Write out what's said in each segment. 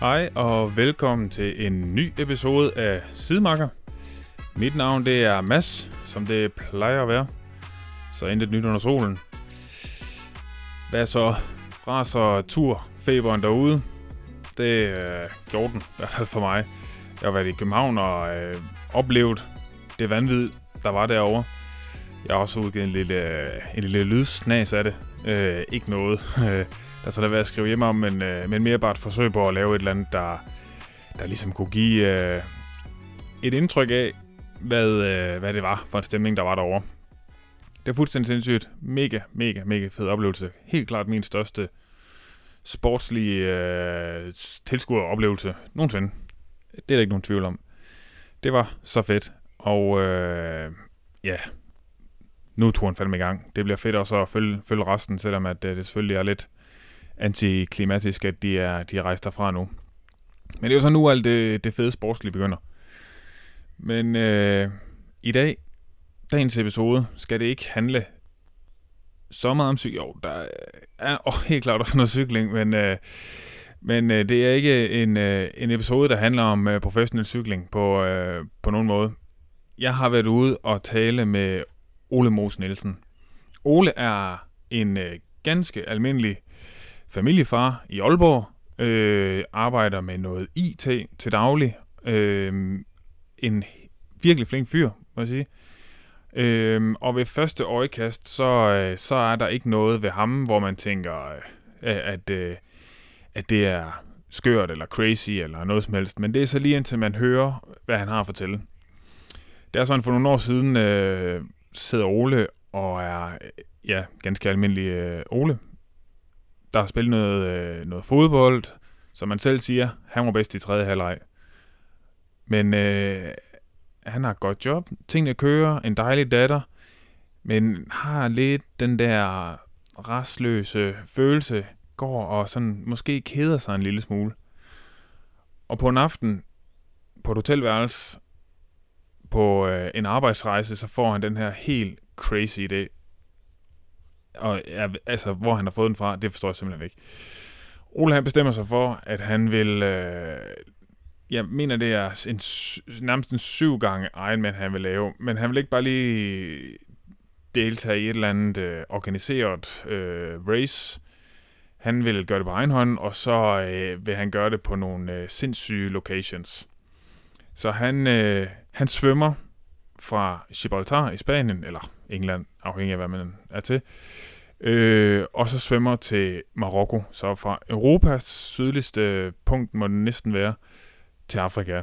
Hej og velkommen til en ny episode af Sidemakker. Mit navn det er Mass, som det plejer at være. Så intet nyt under solen. Hvad så? Raser turfeberen derude? Det øh, gjorde den, i hvert fald for mig. Jeg har været i København og øh, oplevet det vanvid, der var derovre. Jeg har også udgivet en lille, øh, en lille lydsnas af det. Øh, ikke noget. Øh, der så der været at skrive hjem om, men, øh, men mere bare et forsøg på at lave et eller andet, der, der ligesom kunne give øh, et indtryk af, hvad, øh, hvad det var for en stemning, der var derovre. Det var fuldstændig sindssygt. Mega, mega, mega fed oplevelse. Helt klart min største sportslige øh, tilskueroplevelse nogensinde. Det er der ikke nogen tvivl om. Det var så fedt. Og øh, ja, nu er turen fandme i gang. Det bliver fedt også at følge, følge resten, selvom at, øh, det selvfølgelig er lidt antiklimatisk, at de er, de er rejst derfra nu. Men det er jo så nu, alt det, det fede sportslige begynder. Men øh, i dag, dagens episode, skal det ikke handle så meget om cykling. Jo, der er oh, helt klart også noget cykling, men, øh, men øh, det er ikke en, øh, en episode, der handler om øh, professionel cykling på, øh, på nogen måde. Jeg har været ude og tale med Ole Mos Nielsen. Ole er en øh, ganske almindelig familiefar i Aalborg, øh, arbejder med noget IT til daglig. Øh, en virkelig flink fyr, må jeg sige. Øh, og ved første øjekast, så, øh, så er der ikke noget ved ham, hvor man tænker, øh, at, øh, at det er skørt eller crazy eller noget som helst. Men det er så lige indtil man hører, hvad han har at fortælle. Det er sådan, for nogle år siden øh, sidder Ole og er øh, ja, ganske almindelig øh, Ole, der har spillet noget, øh, noget fodbold, som man selv siger, han var bedst i tredje halvleg. Men øh, han har et godt job, tingene kører, en dejlig datter, men har lidt den der restløse følelse, går og sådan måske keder sig en lille smule. Og på en aften, på et hotelværelse, på øh, en arbejdsrejse, så får han den her helt crazy idé, og ja, altså, hvor han har fået den fra, det forstår jeg simpelthen ikke. Ole han bestemmer sig for, at han vil... Øh, jeg mener, det er en, nærmest en syv gange Ironman, han vil lave. Men han vil ikke bare lige deltage i et eller andet øh, organiseret øh, race. Han vil gøre det på egen hånd, og så øh, vil han gøre det på nogle øh, sindssyge locations. Så han, øh, han svømmer fra Gibraltar i Spanien, eller England, afhængig af hvad man er til, øh, og så svømmer til Marokko. Så fra Europas sydligste punkt må det næsten være til Afrika.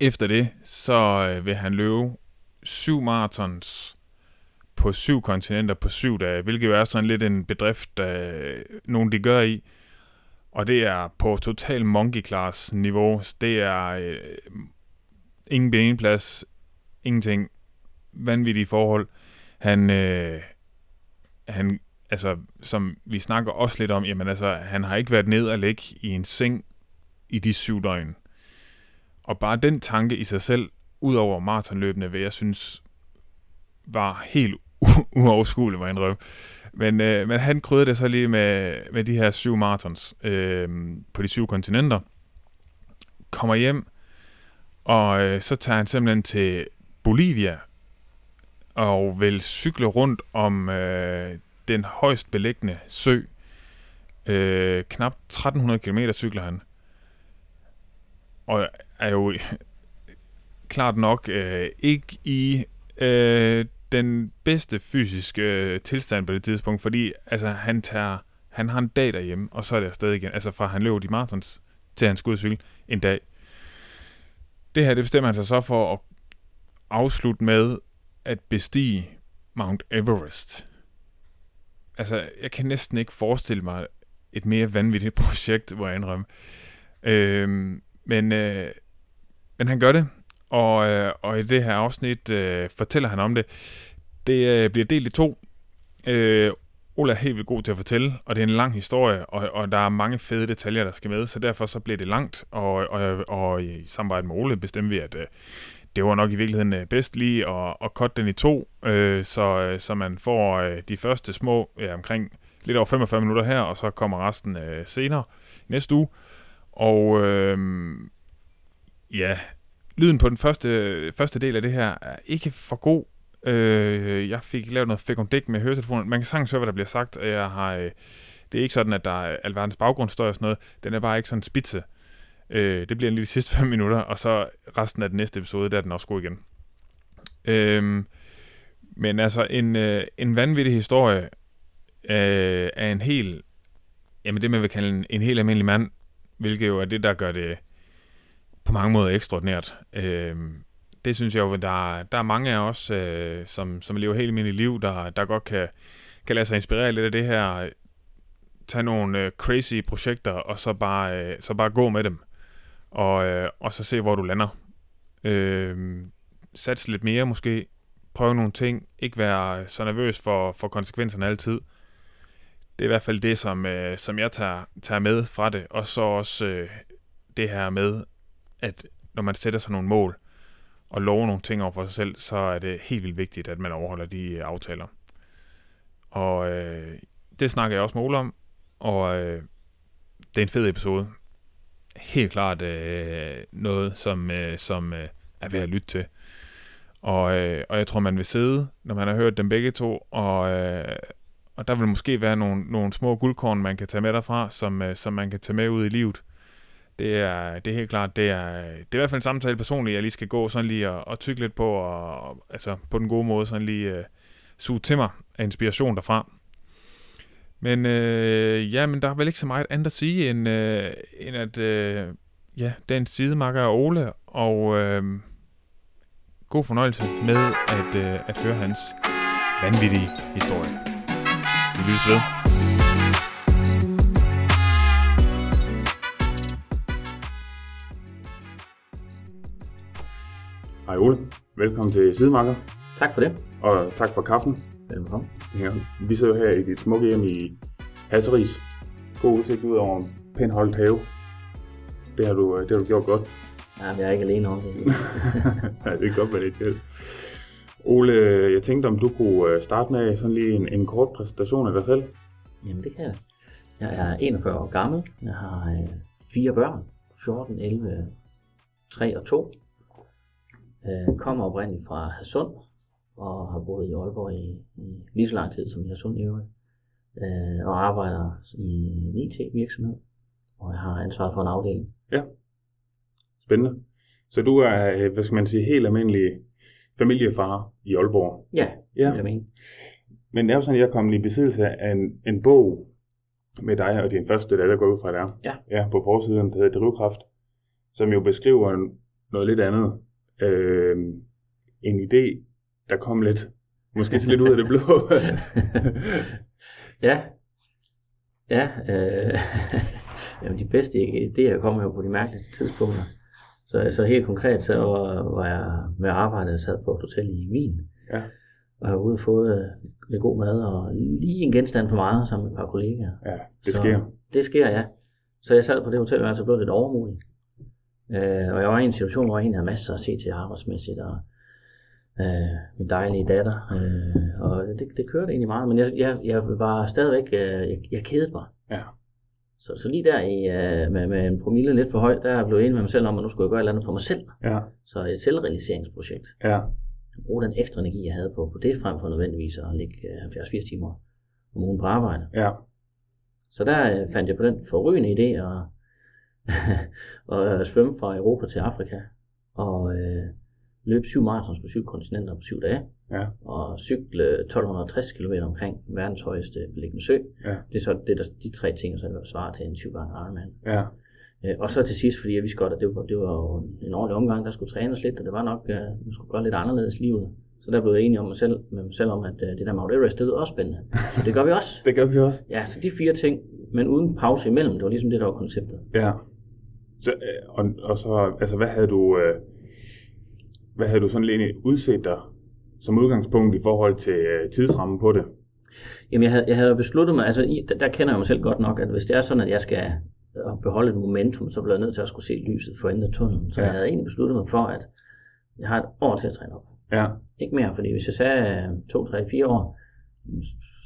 Efter det, så øh, vil han løbe syv marathons på syv kontinenter på syv dage, hvilket jo er sådan lidt en bedrift, øh, nogen de gør i. Og det er på total monkey class niveau. Det er øh, ingen beneplads, ingenting, vanvittige forhold. Han, øh, han, altså, som vi snakker også lidt om, jamen altså, han har ikke været ned og ligge i en seng i de syv døgn. Og bare den tanke i sig selv, ud over maratonløbende, hvad jeg synes var helt uoverskueligt, var en røv. Men, øh, men han krydrede det så lige med, med de her syv marathons øh, på de syv kontinenter. Kommer hjem, og øh, så tager han simpelthen til Bolivia og vil cykle rundt om øh, den højst beliggende sø. Øh, knap 1300 km cykler han. Og er jo klart nok øh, ikke i øh, den bedste fysiske øh, tilstand på det tidspunkt, fordi altså, han, tager, han har en dag derhjemme, og så er det afsted igen. Altså fra han løber de marathons til han skal ud og cykle en dag. Det her, det bestemmer han sig så for at afslutte med at bestige Mount Everest. Altså, jeg kan næsten ikke forestille mig et mere vanvittigt projekt, hvor jeg indrømme. Øhm, men, øh, men han gør det, og, øh, og i det her afsnit øh, fortæller han om det. Det øh, bliver delt i to. Øh, Ola er helt vildt god til at fortælle, og det er en lang historie, og, og der er mange fede detaljer, der skal med, så derfor så bliver det langt, og, og, og i samarbejde med Ole bestemmer vi, at øh, det var nok i virkeligheden øh, bedst lige at, at cut den i to, øh, så, så man får øh, de første små, ja, omkring lidt over 45 minutter her, og så kommer resten øh, senere næste uge. Og øh, ja, lyden på den første, første del af det her er ikke for god. Øh, jeg fik lavet noget fækundæk med høretelefonen. Man kan sagtens høre, hvad der bliver sagt. og Jeg har, øh, det er ikke sådan, at der er alverdens baggrundsstøj og sådan noget. Den er bare ikke sådan spidse. Øh, det bliver lige de sidste 5 minutter, og så resten af den næste episode, der er den også god igen. Øh, men altså, en, øh, en vanvittig historie øh, af en helt, jamen det man vil kalde en, en helt almindelig mand, hvilket jo er det, der gør det på mange måder ekstraordinært. Øh, det synes jeg jo, der, der er mange af os, øh, som, som lever helt almindeligt liv, der, der godt kan, kan lade sig inspirere lidt af det her, tage nogle øh, crazy projekter, og så bare, øh, så bare gå med dem, og, øh, og så se, hvor du lander. Øh, sats lidt mere måske, prøve nogle ting, ikke være så nervøs for, for konsekvenserne altid. Det er i hvert fald det, som, øh, som jeg tager, tager med fra det, og så også øh, det her med, at når man sætter sig nogle mål, og lover nogle ting over for sig selv, så er det helt vildt vigtigt, at man overholder de øh, aftaler. Og øh, det snakker jeg også med Ole om, og øh, det er en fed episode. Helt klart øh, noget, som, øh, som øh, er ved at lytte til. Og, øh, og jeg tror, man vil sidde, når man har hørt dem begge to, og, øh, og der vil måske være nogle, nogle små guldkorn, man kan tage med derfra, som, øh, som man kan tage med ud i livet. Det er, det er helt klart, det er, det er i hvert fald en samtale personligt, jeg lige skal gå sådan lige og, og tykke lidt på, og, og altså på den gode måde sådan lige øh, suge til mig af inspiration derfra. Men øh, ja, men der er vel ikke så meget andet at sige, end, øh, end at øh, ja, dagens sidemarker er Ole, og øh, god fornøjelse med at, øh, at høre hans vanvittige historie. Vi lyttes ved. Hej Ole, velkommen til Sidemarker, Tak for det. og tak for kaffen. Velkommen. Ja. Vi sidder her i dit smukke hjem i Hasseris. God udsigt ud over en pæn holdt have. Det har du, øh, det har du gjort godt. Ja, jeg er ikke alene om det. ja, det er godt, hvad det ikke er. Ole, øh, jeg tænkte, om du kunne øh, starte med sådan lige en, en kort præsentation af dig selv. Jamen, det kan jeg. Jeg er 41 år gammel. Jeg har øh, fire børn. 14, 11, 3 og 2. Øh, kommer oprindeligt fra Hasund og har boet i Aalborg i, i lige så lang tid som i Hasund i øvrigt. Øh, og arbejder i en IT-virksomhed, og jeg har ansvar for en afdeling. Spændende. Så du er, øh, hvad skal man sige, helt almindelig familiefar i Aalborg. Ja, Ja. ja. jeg mener. Men det er jo sådan, at jeg kom i besiddelse af en, en bog med dig og din første datter, der går ud fra der. Ja. ja. på forsiden, der hedder Drivkraft, som jo beskriver en- noget lidt andet. Øh, en idé, der kom lidt, måske så lidt ud af det blå. ja. Ja. Øh, jamen, de bedste idéer kommer jo på de mærkeligste tidspunkter. Så altså, helt konkret, så var, var jeg med arbejdet sad på et hotel i Wien. Ja. Og har ude og fået øh, lidt god mad og lige en genstand for meget sammen med et par kollegaer. ja, det Så- sker. Det sker, ja. Så jeg sad på det hotel, og altså blev lidt overmodig. Øh, og jeg var i en situation, hvor jeg egentlig havde masser at se til arbejdsmæssigt, og øh, min dejlige datter. Øh, og det, det kørte egentlig meget, men jeg, jeg, jeg var stadigvæk, øh, jeg, jeg kedede mig. Ja. Så, så lige der i, øh, med, med en promille lidt for højt, der blev jeg enig med mig selv om, at nu skulle jeg gøre et eller andet for mig selv. Ja, Så et selvrealiseringsprojekt. ja, Bruge den ekstra energi, jeg havde på, på det, frem for nødvendigvis at ligge øh, 70-80 timer om ugen på arbejde. ja, Så der øh, fandt jeg på den forrygende idé at, at øh, svømme fra Europa til Afrika og øh, løbe syv marathons på syv kontinenter på syv dage ja, og cykle 1260 km omkring verdens højeste beliggende sø. Ja. Det er så det, der, de tre ting, som svarer til en syv gange Ironman. ja, Øh, og så til sidst, fordi jeg vidste godt, at det var, det var jo en ordentlig omgang, der skulle trænes lidt, og det var nok, øh, man skulle gøre lidt anderledes livet. Så der blev jeg enig om mig selv, med mig selv om, at øh, det der Mount Everest, det lyder også spændende. Så det gør vi også. det gør vi også. Ja, så de fire ting, men uden pause imellem, det var ligesom det, der var konceptet. Ja. Så, øh, og, og så, altså, hvad havde du, øh, hvad havde du sådan lige udset dig som udgangspunkt i forhold til øh, tidsrammen på det? Jamen, jeg havde, jeg havde besluttet mig, altså i, der, der kender jeg mig selv godt nok, at hvis det er sådan, at jeg skal øh, beholde et momentum, så bliver jeg nødt til at skulle se lyset for enden af tunnelen. Så Ja. ja. jeg havde egentlig besluttet mig for, at jeg har et år til at træne op. Ja, Ikke mere, fordi hvis jeg sagde øh, 2, 3, 4 år,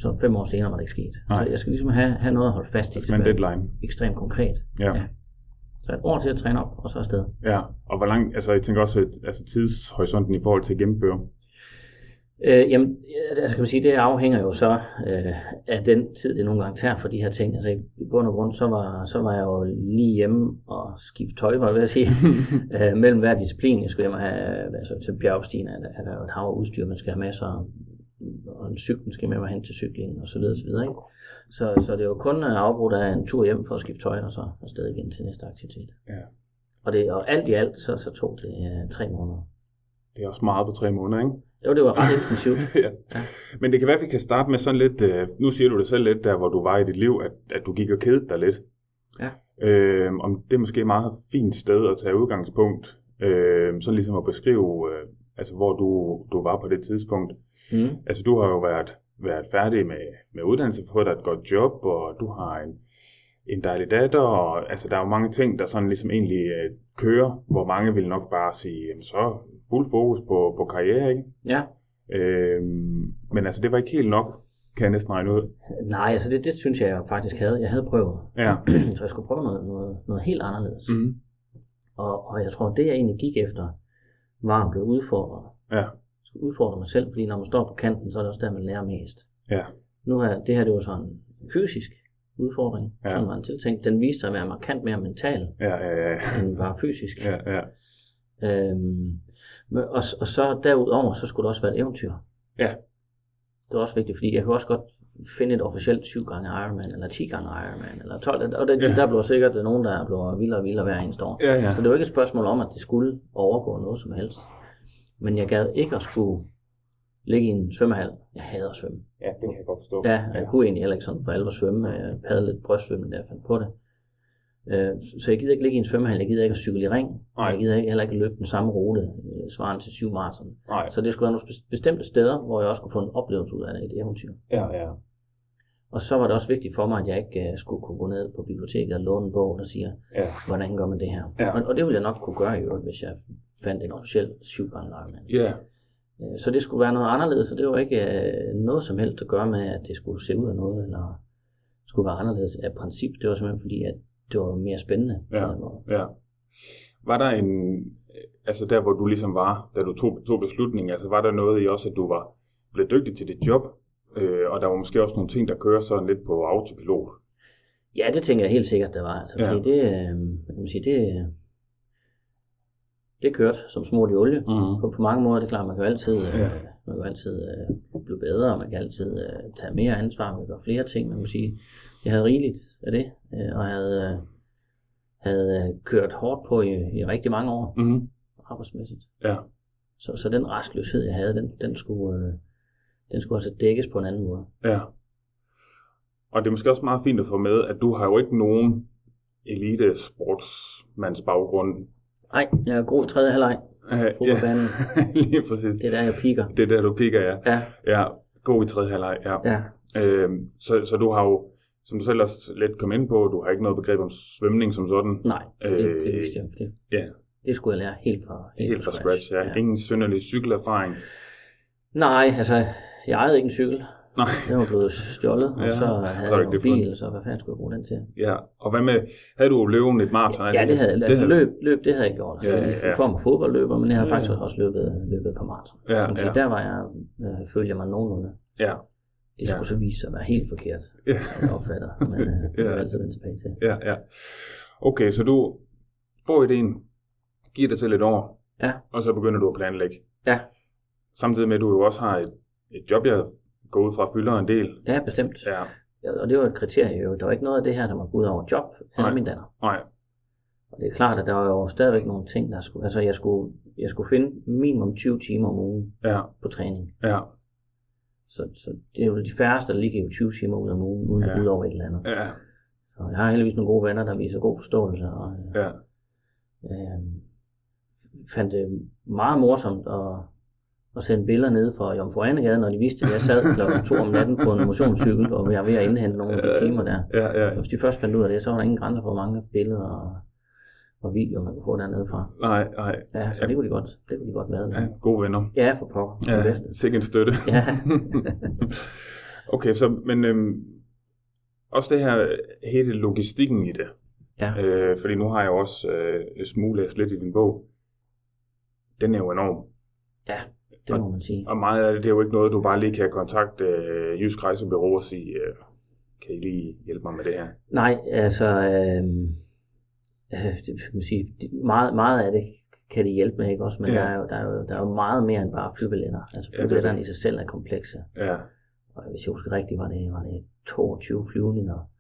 så fem år senere var det ikke sket. Nej. Så jeg skal ligesom have, have noget at holde fast i. der Det skal skal man være deadline. ekstremt konkret. Ja. Ja. Så Så et år til at træne op, og så afsted. Ja, og hvor langt, altså jeg tænker også, at, altså tidshorisonten i forhold til at gennemføre. Øh, jamen, ja, altså kan man sige, det afhænger jo så øh, af den tid, det nogle gange tager for de her ting. Altså i bund og grund, så var, så var jeg jo lige hjemme og skifte tøj, var jeg ved at sige, øh, mellem hver disciplin. Jeg skulle hjem og have, altså til bjergstigen er der, er der jo et hav af udstyr, man skal have med sig, og en cyklen skal med mig hen til cyklingen, og så videre, og så videre, ikke? Så, så det er jo kun øh, afbrudt af en tur hjem for at skifte tøj, og så afsted igen til næste aktivitet. Ja. Og, det, og alt i alt, så, så tog det øh, tre måneder. Det er også meget på tre måneder, ikke? Jo, det var ret intensivt. ja. Men det kan være, at vi kan starte med sådan lidt, øh, nu siger du det selv lidt, der hvor du var i dit liv, at, at du gik og kedede dig lidt. Ja. Øh, om det er måske et meget fint sted at tage udgangspunkt, øh, sådan ligesom at beskrive, øh, altså hvor du, du var på det tidspunkt. Mm. Altså du har jo været, været færdig med, med uddannelse, fået dig et godt job, og du har en, en dejlig datter, og altså der er jo mange ting, der sådan ligesom egentlig øh, kører, hvor mange vil nok bare sige, jamen så fuld fokus på, på karriere, ikke? Ja. Øh, men altså, det var ikke helt nok, kan jeg næsten regne ud. Nej, altså det, det synes jeg faktisk havde. Jeg havde prøvet. Ja. så jeg skulle prøve noget, noget, noget helt anderledes. Mm. Mm. Og, og jeg tror, det jeg egentlig gik efter, var at blive udfordret. Ja. Jeg skulle udfordre mig selv, fordi når man står på kanten, så er det også der, man lærer mest. Ja. Nu her, det her, det var sådan en fysisk udfordring, Ja. ja. som var en tiltænkt. Den viste sig at være markant mere mental, Ja, ja, ja. end bare fysisk. Ja, ja. Øhm, men- og, og så derudover, så skulle det også være et eventyr. Ja. Det er også vigtigt, fordi jeg kan også godt finde et officielt 7 gange Ironman, eller 10 gange Ironman, eller 12, og det, Ja. ja. der blev sikkert nogen, der blev vildere og vildere hver eneste år. Ja, ja. Så det var ikke et spørgsmål om, at det skulle overgå noget som helst. Men jeg gad ikke at skulle ligge i en svømmehal. Jeg hader at svømme. ja det kan jeg godt forstå. Ja, jeg kunne egentlig heller ikke sådan for alvor svømme. Jeg padlede lidt brystsvømme, da jeg fandt på det. Øh, Så jeg gider ikke ligge i en svømmehal, jeg gider ikke at cykle i ring, og Nej. jeg gider ikke, heller ikke løbe den samme rute, øh, svarende til syv maraton. Nej. Så det skulle være nogle bes- bestemte steder, hvor jeg også kunne få en oplevelse ud af det, et eventyr. Ja, ja. Og så var det også vigtigt for mig, at jeg ikke øh, skulle kunne gå ned på biblioteket og låne en bog, der siger, Ja, hvordan gør man det her? Ja. Og, og det ville jeg nok kunne gøre i øvrigt, hvis jeg fandt en officiel syv gange Ironman. ja. Øh, Så det skulle være noget anderledes, og det var ikke øh, noget som helst at gøre med, at det skulle se ud af noget, eller skulle være anderledes af princip. Det var simpelthen fordi, at det var mere spændende. på Ja. den måde. ja. Var der en, altså der hvor du ligesom var, da du tog, tog beslutningen, altså var der noget i også, at du var blev dygtig til dit job, øh, og der var måske også nogle ting, der kører sådan lidt på autopilot. ja det tænker jeg helt sikkert, det var. Altså, Ja. ja. Fordi det, øh, hvad kan man sige, det, øh, det kørte som smurt i olie. Mm. På, på mange måder, det er klart, man kan jo altid, øh, Ja. man kan jo altid øh, blive bedre, og man kan altid øh, tage mere ansvar, man kan gøre flere ting, man kan sige, jeg havde rigeligt af det, øh, og havde, øh, havde øh, kørt hårdt på i, i rigtig mange år Mm. arbejdsmæssigt. Ja. Så, så den restløshed, jeg havde, den, den, skulle, øh, den skulle altså dækkes på en anden måde. Ja. Og det er måske også meget fint at få med, at du har jo ikke nogen elite sportsmands baggrund. Nej, jeg er god i tredje halvleg Ja, på yeah. banen. lige præcis. Det er der, jeg piker. Det er der, du piker, ja. Ja, ja. God i tredje halvleg, ja. ja. Øhm, så, så du har jo, som du selv også lidt kom ind på, du har ikke noget begreb om svømning som sådan. Nej, det, det vidste jeg. Det, Øh, ja. det skulle jeg lære helt fra, Helt fra scratch, ja. Ingen synderlig cykelerfaring. Nej, altså, jeg ejede ikke en cykel. Nej, Den var blevet stjålet, og Ja, så så havde er det jeg en ikke det bil, så hvad fanden skulle jeg bruge den til? ja. Og hvad med, havde du løven et maraton? Ja, det havde jeg. Altså, du. løb, løb, det havde jeg gjort. Altså, Ja, ja, ja. I form af fodboldløber, men jeg har Ja, ja. faktisk også løbet, løbet på maraton. Ja, Man kan ja, sige, Der var jeg, øh, følte jeg mig nogenlunde. ja. Det Ja. skulle så vise sig at være helt forkert, ja. hvad jeg opfatter, men øh, det Ja. kan jeg altid vende tilbage til. Ja, ja. Okay, så du får ideen, giver dig selv et år, Ja. og så begynder du at planlægge. Ja. Samtidig med, at du jo også har et, et job, jeg går ud fra, fylder en del. Ja, bestemt. Ja. Ja, Og det var et kriterie jo. Der var ikke noget af det her, der måtte gå ud over job Nej. eller min datter. Nej, Og det er klart, at der var jo stadigvæk nogle ting, der skulle... Altså, jeg skulle, jeg skulle finde minimum 20 timer om ugen ja, på træning. ja, Så, så det er jo de færreste, der lige giver 20 timer ud om ugen, uden at Ja. gå ud over et eller andet. ja, Så jeg har heldigvis nogle gode venner, der viser god forståelse, og øh, ja. øh, fandt det meget morsomt at, at sende billeder ned fra Jomfru Anegade, når de vidste, at jeg sad kl. 2 om natten på en motionscykel, og jeg var ved at indhente nogle af de timer der. Ja, ja, Hvis de først fandt ud af det, så var der ingen grænser for, hvor mange billeder og, og videoer, man kunne få dernede fra. nej, nej. Ja, så det kunne de godt, det kunne de godt være med. Ja, gode venner. Ja, for pokker. Ja. Det Ja, bedste. sikke en støtte. Ja. okay, så, men øhm, også det her, hele logistikken i det. Ja. Øh, fordi nu har jeg jo også øh, smuglæst lidt i din bog. Den er jo enorm. Ja, det må man sige. Og meget af det, det er jo ikke noget, du bare lige kan kontakte øh, Jysk Rejsebureau og sige, øh, kan I lige hjælpe mig med det her? Nej, altså, øh, øh, det, skal man sige, det- meget, meget af det kan de hjælpe med, ikke også? Men Ja. ja. der, er jo, der, er jo, der er jo meget mere end bare flybilletter. Altså det er flybilletterne i sig selv er komplekse. Ja, Og hvis jeg husker rigtigt, var det, var det 22 flyvninger,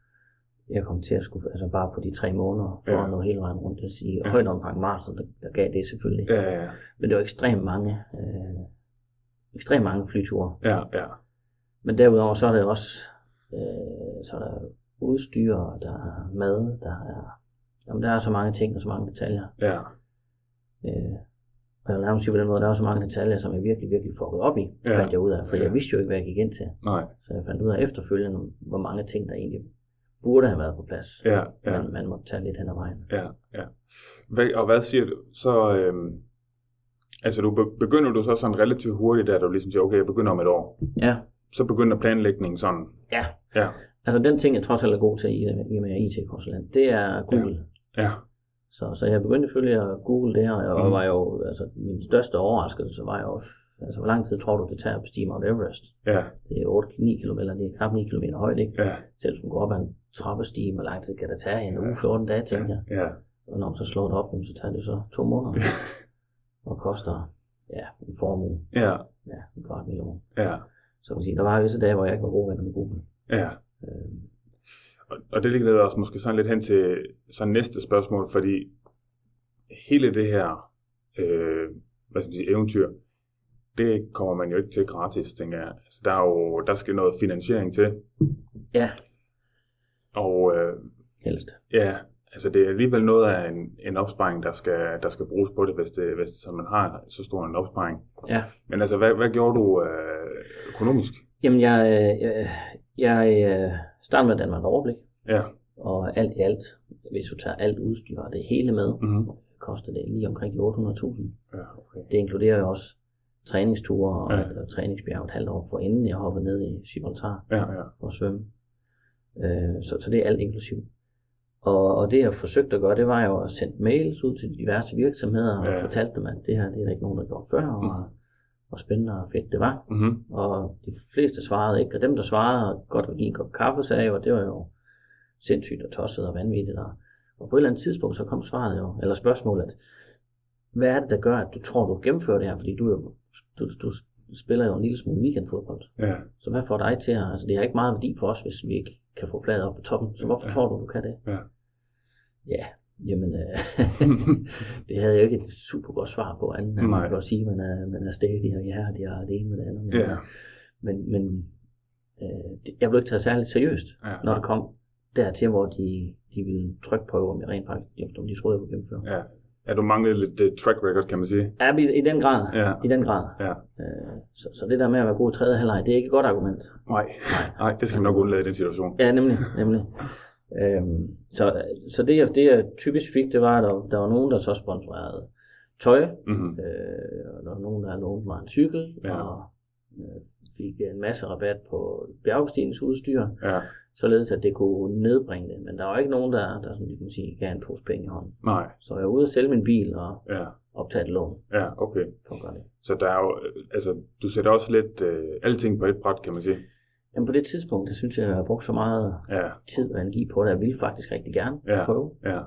jeg kom til at skulle, altså bare på de tre måneder, for Ja. ja. at nå hele vejen rundt. Det vil sige, Ja. ja. højt omfang maraton, der, der gav det selvfølgelig. ja, ja, Men det var ekstremt mange, øh, ekstremt mange flyture. ja, ja, Men derudover så er det også, øh, så er der udstyr, og der er mad, der er, jamen der er så mange ting og så mange detaljer. ja, Øh, og jeg vil nærmest sige på den måde, der er så mange detaljer, som jeg virkelig, virkelig fuckede op i, Ja. ja. fandt jeg ud af, for Ja. jeg vidste jo ikke, hvad jeg gik ind til. nej, Så jeg fandt ud af efterfølgende, hvor mange ting, der egentlig burde have været på plads. ja, ja, Man, man måtte tage lidt hen ad vejen. ja, ja. Hvad, og hvad siger du så, øhm, altså du be- begynder du så sådan relativt hurtigt, at du ligesom siger, okay, jeg begynder om et år. Ja, Så begynder planlægningen sådan, ja. ja, Altså den ting, jeg trods alt er god til i, i og med at jeg er IT-konsulent, det er Google. ja, Så, så jeg begyndte selvfølgelig at google det her, og jeg Mm. var jo, altså min største overraskelse var jo, altså hvor lang tid tror du, det tager at bestige Mount Everest? ja, Det er 8-9 km, eller det er knap 9 km højt, ikke? ja, Selv hvis man går op ad en trappestige, hvor lang tid kan det tage? En Ja. uge, 14 dage, ja, tænkte jeg. ja, Og når man så slår det op, jamen, så tager det så to måneder, og koster, ja, en formue, ja, ja, en kvart million. ja, Så kan man sige, der var visse dage, hvor jeg ikke var god venner med Google. ja. Øh, Og, og det leder os måske sådan lidt hen til så næste spørgsmål, fordi hele det her øh, hvad skal man sige, eventyr, det kommer man jo ikke til gratis, tænker jeg. Altså, der, er jo, der skal noget finansiering til, ja, og øh, helst. ja, altså det er alligevel noget af en, en opsparing, der skal, der skal bruges på det, hvis, det, hvis det, så man har så stor en opsparing. Ja. Men altså, hvad, hvad gjorde du øh, økonomisk? Jamen, jeg, øh, jeg, jeg øh, starter med Danmark Overblik. Ja. Og alt i alt, hvis du tager alt udstyr og det hele med, Mm-hmm. koster det lige omkring de 800.000. Ja, okay. Det inkluderer jo også træningsture og, Ja. ja. og træningsbjerg et halvt år forinden jeg hoppede ned i Gibraltar Ja, ja, for at svømme. Øh, så, så det er alt inklusiv. Og, og det jeg forsøgte at gøre, det var jo at sende mails ud til diverse virksomheder og Ja. ja. fortalte dem, at det her det er der ikke nogen, der har gjort før, og Mhm. hvor spændende og fedt det var. mm-hmm. Og de fleste svarede ikke, og dem, der svarede og godt ville give en kop kaffe, sagde jo, at det var jo sindssygt og tosset og vanvittigt. Og, og på et eller andet tidspunkt, så kom svaret jo, eller spørgsmålet, at hvad er det, der gør, at du tror, du gennemfører det her? Fordi du, er jo, du, du spiller jo en lille smule weekendfodbold. ja, Så hvad får dig til at, altså det har ikke meget værdi for os, hvis vi ikke kan få flaget op på toppen. Så hvorfor Ja. tror du, du kan det? Ja. Ja, jamen, øh, det havde jeg jo ikke et super godt svar på andet, end Nej. man kan godt sige, at man er, man er stædig og ihærdig og det ene med det andet. Men, ja, men, men øh, det- jeg blev ikke taget særligt seriøst, ja, når det kom dertil, hvor de, de ville trykprøve, om jeg rent faktisk, om de troede, jeg kunne gennemføre. ja. Ja, du manglede lidt øh, track record, kan man sige. Ja, i, i den grad. Ja. I den grad. Ja. Øh, så, så det der med at være god i tredje halvleg, det er ikke et godt argument. Nej. Nej, det skal man nok undlade i den situation. Ja, nemlig. nemlig. Øhm, så, så det, jeg, det jeg typisk fik, det var, at der, der var nogen, der så sponsorerede tøj, Mm-hmm. øh, og der var nogen, der lånte mig en cykel, Ja. og øh, fik en masse rabat på bjergbestigningsudstyr. Ja, således at det kunne nedbringe det. Men der var ikke nogen, der, der sådan, kan sige, gav en pose penge i hånden. nej. Så jeg var ude og sælge min bil og Ja, optage et lån ja, okay. for at gøre det. Så der er jo, øh, altså, du sætter også lidt øh, alting på et bræt, kan man sige. Men på det tidspunkt, der synes jeg, at jeg har brugt så meget Ja, tid og energi på det, jeg ville faktisk rigtig gerne Ja. prøve. ja,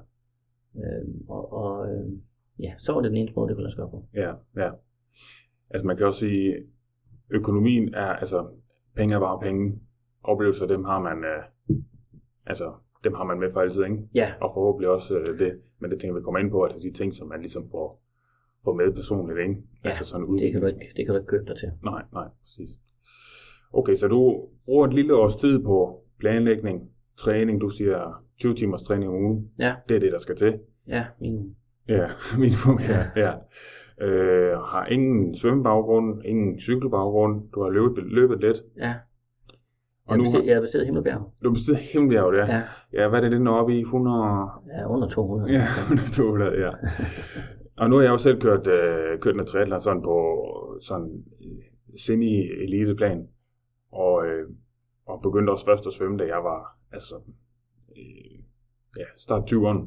Øhm, og og øhm, ja, så var det den eneste måde, det kunne lade sig gøre på. ja, ja. Altså, man kan også sige, økonomien er, altså, penge er bare penge. Oplevelser, dem har man, øh, altså, dem har man med for altid, ikke? Ja, Og forhåbentlig også øh, det, men det tænker vi kommer ind på, altså de ting, som man ligesom får, får med personligt, ikke? Ja, altså sådan det kan, du udviklings- ikke, det kan du ikke købe dig til. Nej, nej, præcis. Okay, så du bruger et lille års tid på planlægning, træning, du siger 20 timers træning om ugen. Ja. Det er det, der skal til. Ja, min, Ja, minimum, ja. ja. Øh, har ingen svømmebaggrund, ingen cykelbaggrund, du har løbet, løbet lidt. ja. Og Jeg nu nu har, jeg er baseret i Himmelbjerg. du besidder himmelbjerg, ja. Ja. Ja, hvad er det, den er oppe i? 100... ja, under 200. Ja, 100, ja. Og nu har jeg jo selv kørt, øh, kørt med triathlon sådan på sådan øh, semi-eliteplan, og, øh, og begyndte også først at svømme, da jeg var altså, øh, ja, start 20'erne,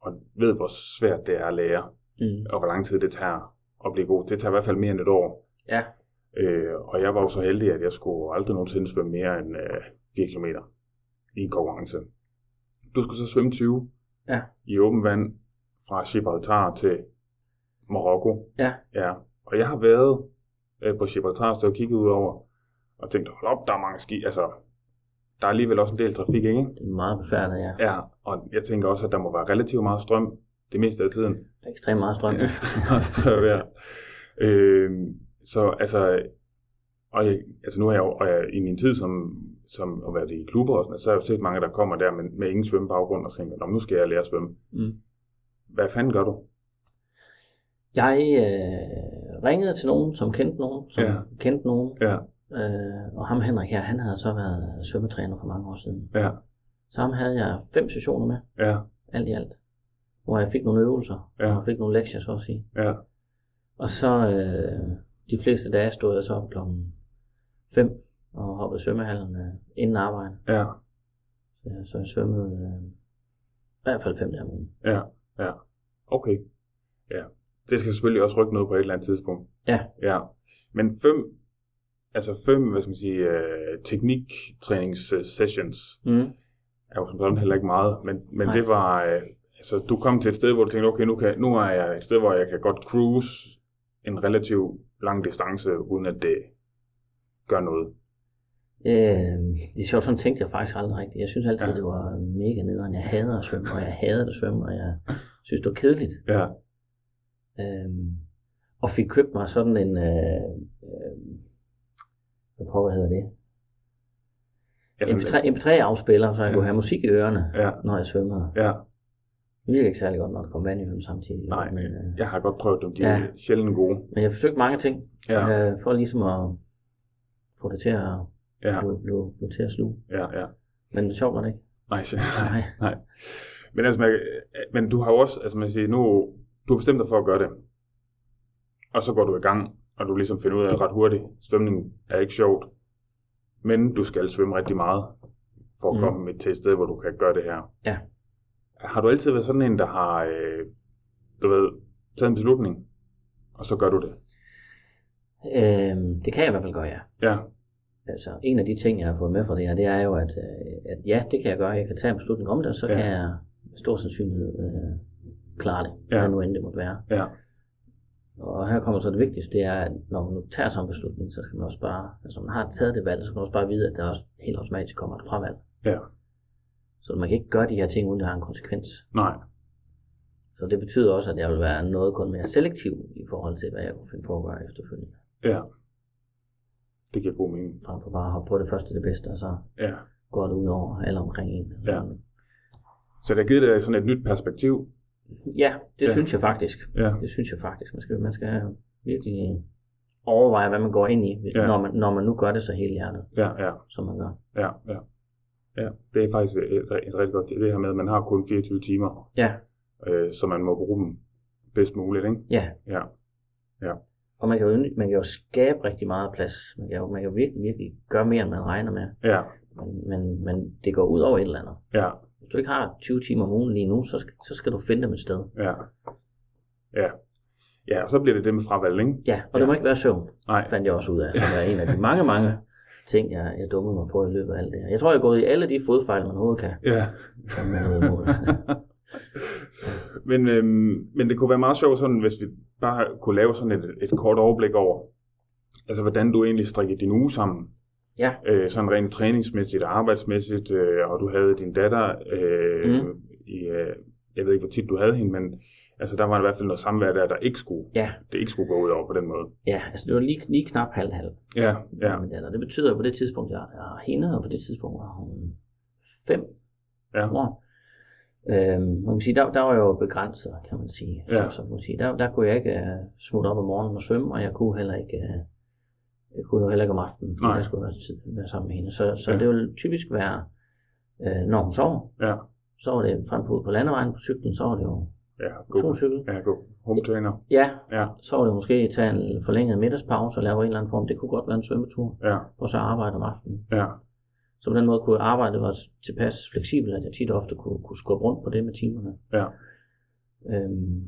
og ved, hvor svært det er at lære, Mm. og hvor lang tid det tager at blive god. Det tager i hvert fald mere end et år. Ja. Øh, og jeg var jo så heldig, at jeg skulle aldrig nogensinde svømme mere end øh, 4 km i en konkurrence. Du skulle så svømme 20 Ja. i åben vand fra Gibraltar til Marokko. Ja. Ja, og jeg har været øh, på Gibraltar og stået og kigget ud over, og tænkt, hold op, der er mange ski, altså, der er alligevel også en del trafik, ikke? Det er meget befærdet, ja. Ja, og jeg tænker også, at der må være relativt meget strøm det meste af tiden. Der er ekstremt meget strøm. Meget strøm, ja. Øhm, så altså, og jeg, altså nu har jeg jo og jeg, i min tid som, som at være det i klubber og sådan, noget, så har jeg jo set mange, der kommer der med, med ingen svømmebaggrund og tænker, "Nå, men nu skal jeg lære at svømme. Mm. Hvad fanden gør du? Jeg øh, ringede til nogen, som kendte nogen, som Ja. kendte nogen, Ja, øh, og ham Henrik her, han havde så været svømmetræner for mange år siden. ja, Så ham havde jeg fem sessioner med, ja, alt i alt, hvor jeg fik nogle øvelser, Ja. og fik nogle lektier, så at sige. ja, Og så øh, de fleste dage stod jeg så op klokken 5 og hoppede i svømmehallen øh, inden arbejde. ja, Så jeg, så jeg svømmede øh, i hvert fald fem dage om ugen. ja, ja. Okay. Ja. Det skal selvfølgelig også rykke noget på et eller andet tidspunkt. Ja. Ja. Men fem, altså fem, hvad skal man sige, øh, tekniktrænings-sessions, Mm. er jo som sådan heller ikke meget, men, men Nej. det var, øh, altså du kom til et sted, hvor du tænkte, okay, nu, kan, nu er jeg et sted, hvor jeg kan godt cruise en relativt lang distance, uden at det gør noget. Øh, det er sjovt, sådan tænkte jeg faktisk aldrig rigtigt. Jeg synes altid, Ja. ja. det var mega nederen. Jeg hader at svømme, og jeg hader at svømme, og jeg synes, det var kedeligt. Ja, Øh, og fik købt mig sådan en, øh, øh, hvad pokker hedder det? altså, MP3, MP3-afspiller, så jeg Ja. ja. kunne have musik i ørerne, Ja. når jeg svømmede. ja, Det virker ikke særlig godt, når der kommer vand i øjnene samtidig. Nej, men, øh, jeg har godt prøvet dem, de er Ja. sjældent gode. men jeg forsøgte mange ting, Ja, øh, for ligesom at få det til at, ja, blive, blive, blive til at sluge. ja, ja. Men det sjovt var det ikke. Nej, sjældent. Nej. men altså, man, men du har jo også, altså man siger, nu, du har bestemt dig for at gøre det, og så går du i gang, og du ligesom finder ud af ret hurtigt, svømning er ikke sjovt, men du skal svømme rigtig meget, for at Mm. komme til et sted, hvor du kan gøre det her. Ja. Har du altid været sådan en, der har, øh, du ved, taget en beslutning, og så gør du det? Øh, det kan jeg i hvert fald gøre, ja. Ja, Altså, en af de ting, jeg har fået med fra det her, det er jo, at, øh, at ja, det kan jeg gøre. Jeg kan tage en beslutning om det, og så Ja. ja. kan jeg med stor sandsynlighed øh, klare det, Ja. ja. hvad nu end det måtte være. ja, Og her kommer så det vigtigste, det er, at når man nu tager sådan en beslutning, så skal man også bare, altså man har taget det valg, så skal man også bare vide, at der også helt automatisk kommer et fravalg. Ja. Så man kan ikke gøre de her ting, uden det har en konsekvens. nej, Så det betyder også, at jeg vil være noget kun mere selektiv i forhold til, hvad jeg kunne finde på at gøre efterfølgende. ja. Det giver god mening. Frem for bare at hoppe på det første det bedste, og så Ja. går det ud over alle omkring en. Ja. Så det har givet dig sådan et nyt perspektiv. ja det Ja. ja. synes jeg faktisk. Ja. Det synes jeg faktisk. Man skal, man skal virkelig overveje, hvad man går ind i, Ja. ja. når, man, når man nu gør det så hele hjertet, Ja, ja. som man gør. Ja, ja. Ja, det er faktisk et, et rigtig godt det her med, at man har kun 24 timer, Ja, øh, så man må bruge dem bedst muligt, ikke? ja. Ja, Og man kan, jo, man kan jo skabe rigtig meget plads. Man kan jo, man kan jo virkelig, virkelig gøre mere, end man regner med. ja, Men, men, men det går ud over et eller andet. ja, Hvis du ikke har 20 timer om ugen lige nu, så skal, så skal du finde dem et sted. ja. Ja, ja og så bliver det det med fravalg, ikke? Ja, og ja. det må ikke være søvn, Nej, fandt jeg også ud af. Så det er en af de mange, mange ting, jeg, jeg dummede mig på i løbet af alt det her. Jeg tror, jeg er gået i alle de fodfejl, man overhovedet kan. ja. som man overhovedet må. men, øhm, men det kunne være meget sjovt, sådan, hvis vi bare kunne lave sådan et, et kort overblik over, altså hvordan du egentlig strikkede din uge sammen. Ja. Øh, sådan rent træningsmæssigt og arbejdsmæssigt, øh, og du havde din datter, øh, mm. Mm. i, øh, jeg ved ikke, hvor tit du havde hende, men altså, der var i hvert fald noget samvær der, der ikke skulle, ja, det ikke skulle gå ud over på den måde. ja, altså det var lige, lige knap halv-halv. Ja, ja, med min datter. Det betyder, at på det tidspunkt, jeg har hende, og på det tidspunkt var hun fem ja, år. Øhm, man kan sige, der, der var jeg jo begrænset, kan man sige. Ja. Så, så kan man sige. Der, der kunne jeg ikke øh, smutte op om morgenen og svømme, og jeg kunne heller ikke, øh, jeg kunne jo heller ikke om aftenen, fordi Nej. jeg skulle være, tid, være sammen med hende. Så, så Ja. ja. det ville typisk være, øh, når hun sover, ja, så var det frem på, ude på landevejen på cyklen, så var det jo ja, god, motionscykel. ja, god, home trainer, Ja, ja, så var det måske tage en forlænget middagspause og lave en eller anden form. Det kunne godt være en svømmetur, ja, og så arbejde om aftenen. ja, Så Så på den måde kunne arbejdet være tilpas fleksibelt, at jeg tit og ofte kunne, kunne skubbe rundt på det med timerne. Ja. Øhm,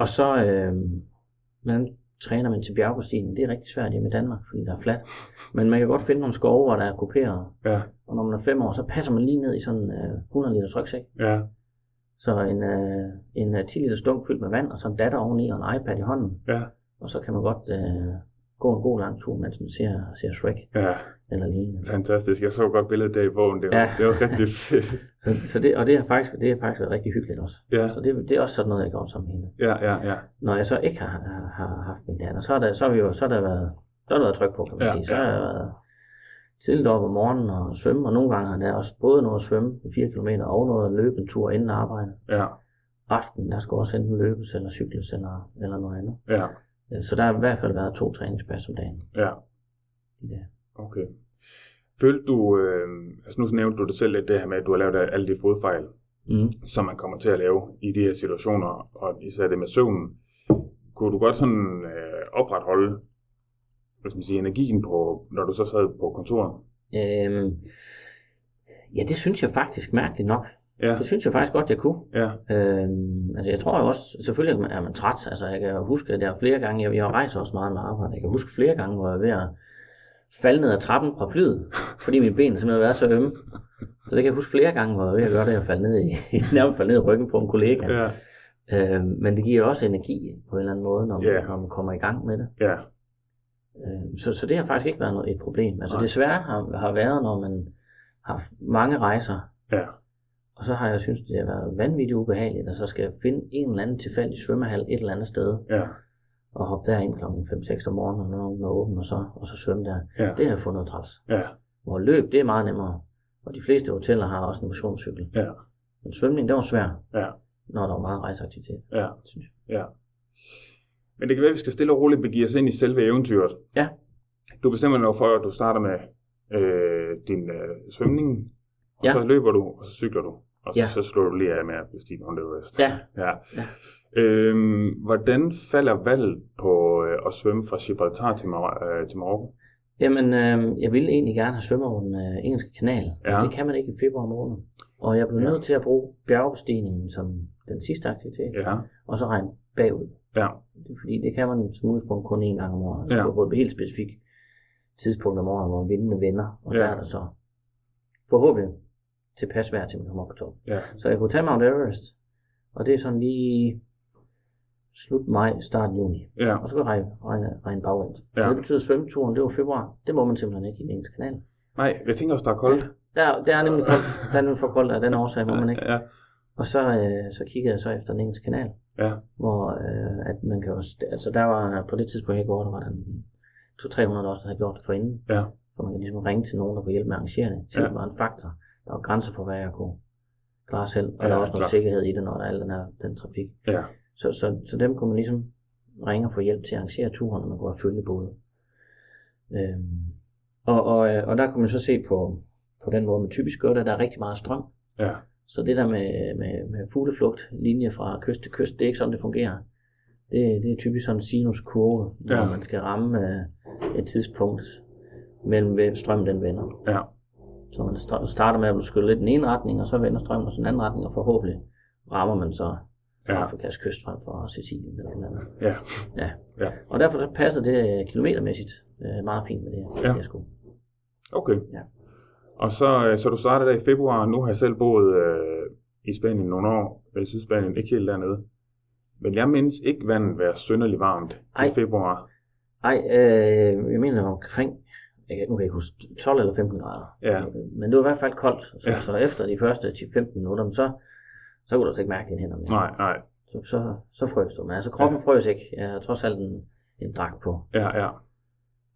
og så, øhm, man træner man til bjergbestigen. Det er rigtig svært hjemme i Danmark, fordi der er fladt. Men man kan godt finde nogle skove, hvor der er kuperet. Ja. Og når man er fem år, så passer man lige ned i sådan en øh, 100 liters rygsæk. Ja. Så en, øh, en øh, 10 liters dunk fyldt med vand, og så en datter oveni og en iPad i hånden. Ja. Og så kan man godt øh, gå en god lang tur, mens man ser, ser Shrek Ja, eller lignende. fantastisk. Jeg så godt billedet der i bogen. Det var, Ja. det var rigtig fedt. Så, så det, og det har faktisk, det har faktisk været rigtig hyggeligt også. Ja, Så det, det er også sådan noget, jeg går sammen med hende. ja, ja, ja. Når jeg så ikke har, har, har haft min datter, så har der, så har vi jo, så har der været, så har der været tryk på, kan man Ja, ja, sige. Så ja. har jeg været tidligt op om morgenen og svømme, og nogle gange har der også både noget at svømme 4 km og noget at løbe en tur inden arbejde. Ja, Aften, der skal også enten løbes eller cykles eller, eller noget andet. ja, Øh, Så der har i hvert fald været to træningspas om dagen. ja. Ja. Okay. Følte du, øh, altså nu nævnte du det selv lidt det her med, at du har lavet alle de fodfejl, Mm. som man kommer til at lave i de her situationer, og især det med søvnen. Kunne du godt sådan øh, opretholde hvad skal man sige, energien på, når du så sad på kontoret? Øhm, ja, det synes jeg faktisk mærkeligt nok. Ja, Det synes jeg faktisk godt, jeg kunne. ja, Øhm, altså jeg tror jo også, selvfølgelig er man, er man træt, altså jeg kan jo huske, at jeg flere gange, jeg, jeg rejser også meget med arbejde, jeg kan huske flere gange, hvor jeg var ved at falde ned ad trappen fra flyet, fordi mine ben simpelthen har været så ømme. Så det kan jeg huske flere gange, hvor jeg var ved at gøre det, jeg faldt ned i, nærmest faldt ned i ryggen på en kollega. Ja. ja, Øhm, men det giver jo også energi på en eller anden måde, når man, Ja. når man kommer i gang med det. ja, Øhm, så, så det har faktisk ikke været noget, et problem. Altså Nej. desværre har, har været, når man har haft mange rejser, ja, og så har jeg synes det har været vanvittigt ubehageligt, at så skal jeg finde en eller anden tilfældig svømmehal et eller andet sted, ja, og hoppe derind kl. 5-6 om morgenen, og når nogen er åben, og så, og så svømme der. ja, Det har jeg fundet træls. ja, Hvor løb, det er meget nemmere. Og de fleste hoteller har også en motionscykel. Ja. Men svømning, det var svært, ja, når der var meget rejseaktivitet. ja. Synes jeg. Ja. Men det kan være, at vi skal stille og roligt begive os ind i selve eventyret. Ja. Du bestemmer dig for, at du starter med øh, din øh, svømning, og Ja. så løber du, og så cykler du, og Ja. så slår du lige af med at bestige Mount Everest. Ja. ja. Ja. Øhm, hvordan falder valget på øh, at svømme fra Gibraltar til, Mar- øh, til Marokko? Jamen, øh, jeg ville egentlig gerne have svømmet over den øh, engelske kanal, men Ja. det kan man ikke i februar måned. Og jeg blev Ja. nødt til at bruge bjergbestigningen som den sidste aktivitet, Ja. og så regne bagud. Ja. Det er Fordi det kan man som udgangspunkt kun én gang om året. Ja. Ja. På et helt specifikt tidspunkt om året, hvor vindene vender, og Ja. ja. der er der så forhåbentlig tilpas vejr, til man kommer op på toppen. Ja. Så jeg kunne tage Mount Everest, og det er sådan lige slut maj, start juni. Ja. Og så kan jeg regne, regne, regne bagvendt. Ja. Ja. Så det betyder, at svømmeturen, det var februar. Det må man simpelthen ikke i den engelske kanal. Nej, jeg tænker også, der er koldt. Der, der er nemlig koldt. Der er nemlig for koldt af den årsag, må man ikke. Ja. Og så, øh, så kiggede jeg så efter den engelske kanal. Ja. Hvor øh, at man kan også, altså der var på det tidspunkt, jeg gjorde, der var der en 200-300 også, der havde gjort det forinden. Ja. Så man kan ligesom ringe til nogen, der kunne hjælpe med at arrangere det. Tid Ja. var en faktor. Der var grænser for, hvad jeg kunne klare selv. Og Ja, der var også klart. noget sikkerhed i det, når der er al den her den trafik. Ja. Så, så, så dem kunne man ligesom ringe og få hjælp til at arrangere turen, og man kunne have følgebåde. Øhm, og, og, øh, og der kunne man så se på, på den måde, man typisk gør det, at der er rigtig meget strøm. Ja. Så det der med, med, med fugleflugt, linje fra kyst til kyst, det er ikke sådan, det fungerer. Det, det er typisk sådan en sinuskurve, hvor Ja. man skal ramme øh, et tidspunkt mellem hvem strømmen den vender. Ja. Så man sta- starter med at skylle lidt i den ene retning, og så vender strømmen også i den anden retning, og forhåbentlig rammer man så Ja. Afrikas kyst frem for Sicilien eller noget andet. Ja. Og derfor så passer det øh, kilometermæssigt øh, meget fint med det her. Ja. Ja. Jeg skulle. Okay. Ja. Og så, øh, så du startede der i februar, nu har jeg selv boet øh, i Spanien nogle år, øh, i Sydspanien, ikke helt dernede. Men jeg mindes ikke vandet være synderligt varmt Ej. i Ej. februar. Ej, øh, jeg mener omkring, jeg kan, nu kan jeg ikke huske, 12 eller 15 grader. Ja. Øh, Men det var i hvert fald koldt, så, Ja. ja. så efter de første 10-15 minutter, men så, så kunne du altså ikke mærke dine hænder mere. Nej, nej. Så, så, så frøs du. Men altså kroppen ja. frøs ikke. Jeg havde trods alt en, en dragt på. Ja, ja.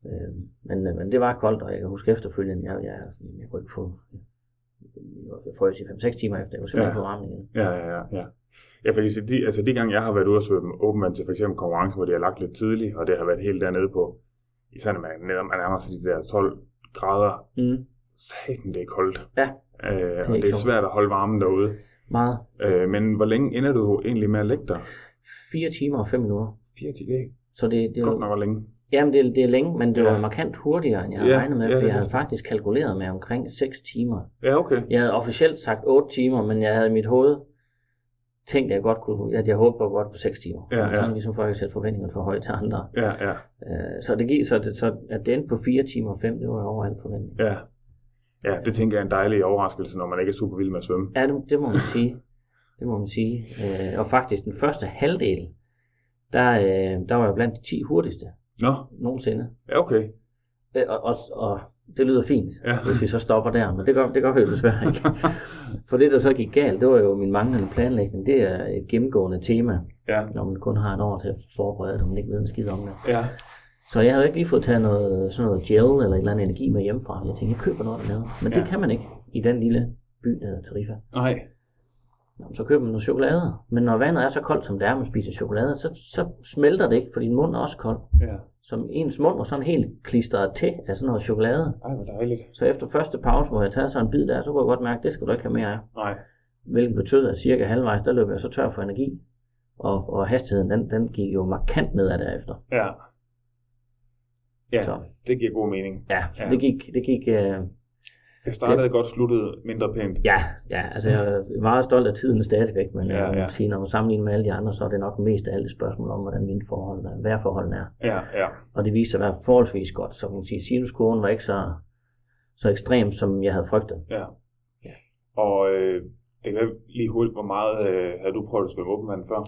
Øh, men, øh, men det var koldt, og jeg kan huske efterfølgende, jeg, jeg, jeg kunne ikke få... Jeg frøs i 5-6 timer efter, jeg kunne Ja. simpelthen ja. få varmen igen. Ja, ja, ja, ja. Jeg kan sige, de, altså de gange, jeg har været ude og svømme åbenvand til for eksempel konkurrence, hvor det har lagt lidt tidligt, og det har været helt dernede på, især når man netop man nærmer sig de der 12 grader, Mm, satan, det er koldt. Ja. Øh, det er og ikke det er sjovt. svært at holde varmen derude. meget. Øh, men hvor længe ender du egentlig med at lægge dig? 4 timer og 5 minutter. 4 til det. Så det, det Godt var, nok var længe. Jamen, det, er- det er længe, men det Ja. var markant hurtigere, end jeg Ja, havde regnet med, ja, for det jeg havde vidste jeg. faktisk kalkuleret med omkring 6 timer. Ja, okay. Jeg havde officielt sagt 8 timer, men jeg havde i mit hoved tænkt, at jeg, godt kunne, at jeg håbede godt på 6 timer. Ja, ja. Sådan ligesom for at sætte forventninger for højt til andre. Ja, ja, Øh, så det gik, så, det, så at det endte på 4 timer og 5, det var over al forventning. ja. Ja, det tænker jeg er en dejlig overraskelse, når man ikke er super vild med at svømme. Ja, det, det må man sige. Det må man sige. Øh, og faktisk den første halvdel, der, øh, der var jeg blandt de 10 hurtigste Nå, nogensinde. ja, okay. Øh, og, og, og det lyder fint, Ja. hvis vi så stopper der, men det gør, det gør vi jo desværre ikke. For det, der så gik galt, det var jo min manglende planlægning. Det er et gennemgående tema, Ja, når man kun har et år til at forberede det, og man ikke ved en skid om det. ja, Så jeg havde ikke lige fået taget noget, sådan noget gel eller et eller andet energi med hjemmefra. Jeg tænkte, jeg køber noget dernede. Men det Ja. kan man ikke i den lille by, der hedder Tarifa. nej. Nå, så køber man noget chokolade. Men når vandet er så koldt, som det er, man spiser chokolade, så, så smelter det ikke, for din mund er også kold. Ja. Så ens mund var sådan helt klistret til af sådan noget chokolade. Ej, hvor dejligt. Så efter første pause, hvor jeg tager sådan en bid der, så kunne jeg godt mærke, at det skal du ikke have mere af. Nej. Hvilket betød, at cirka halvvejs, der løb jeg så tør for energi. Og, og hastigheden, den, den gik jo markant nedad derefter. Ja. Ja, Så, det giver god mening. ja, så Ja. ja. det gik, det gik øh, Det startede godt, sluttede mindre pænt. ja, ja, altså jeg er meget stolt af tiden stadigvæk, men Ja, ja, ja. ja. jeg må sige, når man sammenligner med alle de andre, så er det nok mest af alt et spørgsmål om, hvordan vindforholdene er, vejrforholdene er. Ja, ja. og det viste sig at være forholdsvis godt. Så kan man sige, sinuskurven var ikke så, så ekstrem, som jeg havde frygtet. ja. Ja. Og øh, det kan være lige hurtigt, hvor meget øh, havde du prøvet at svømme åben vand før?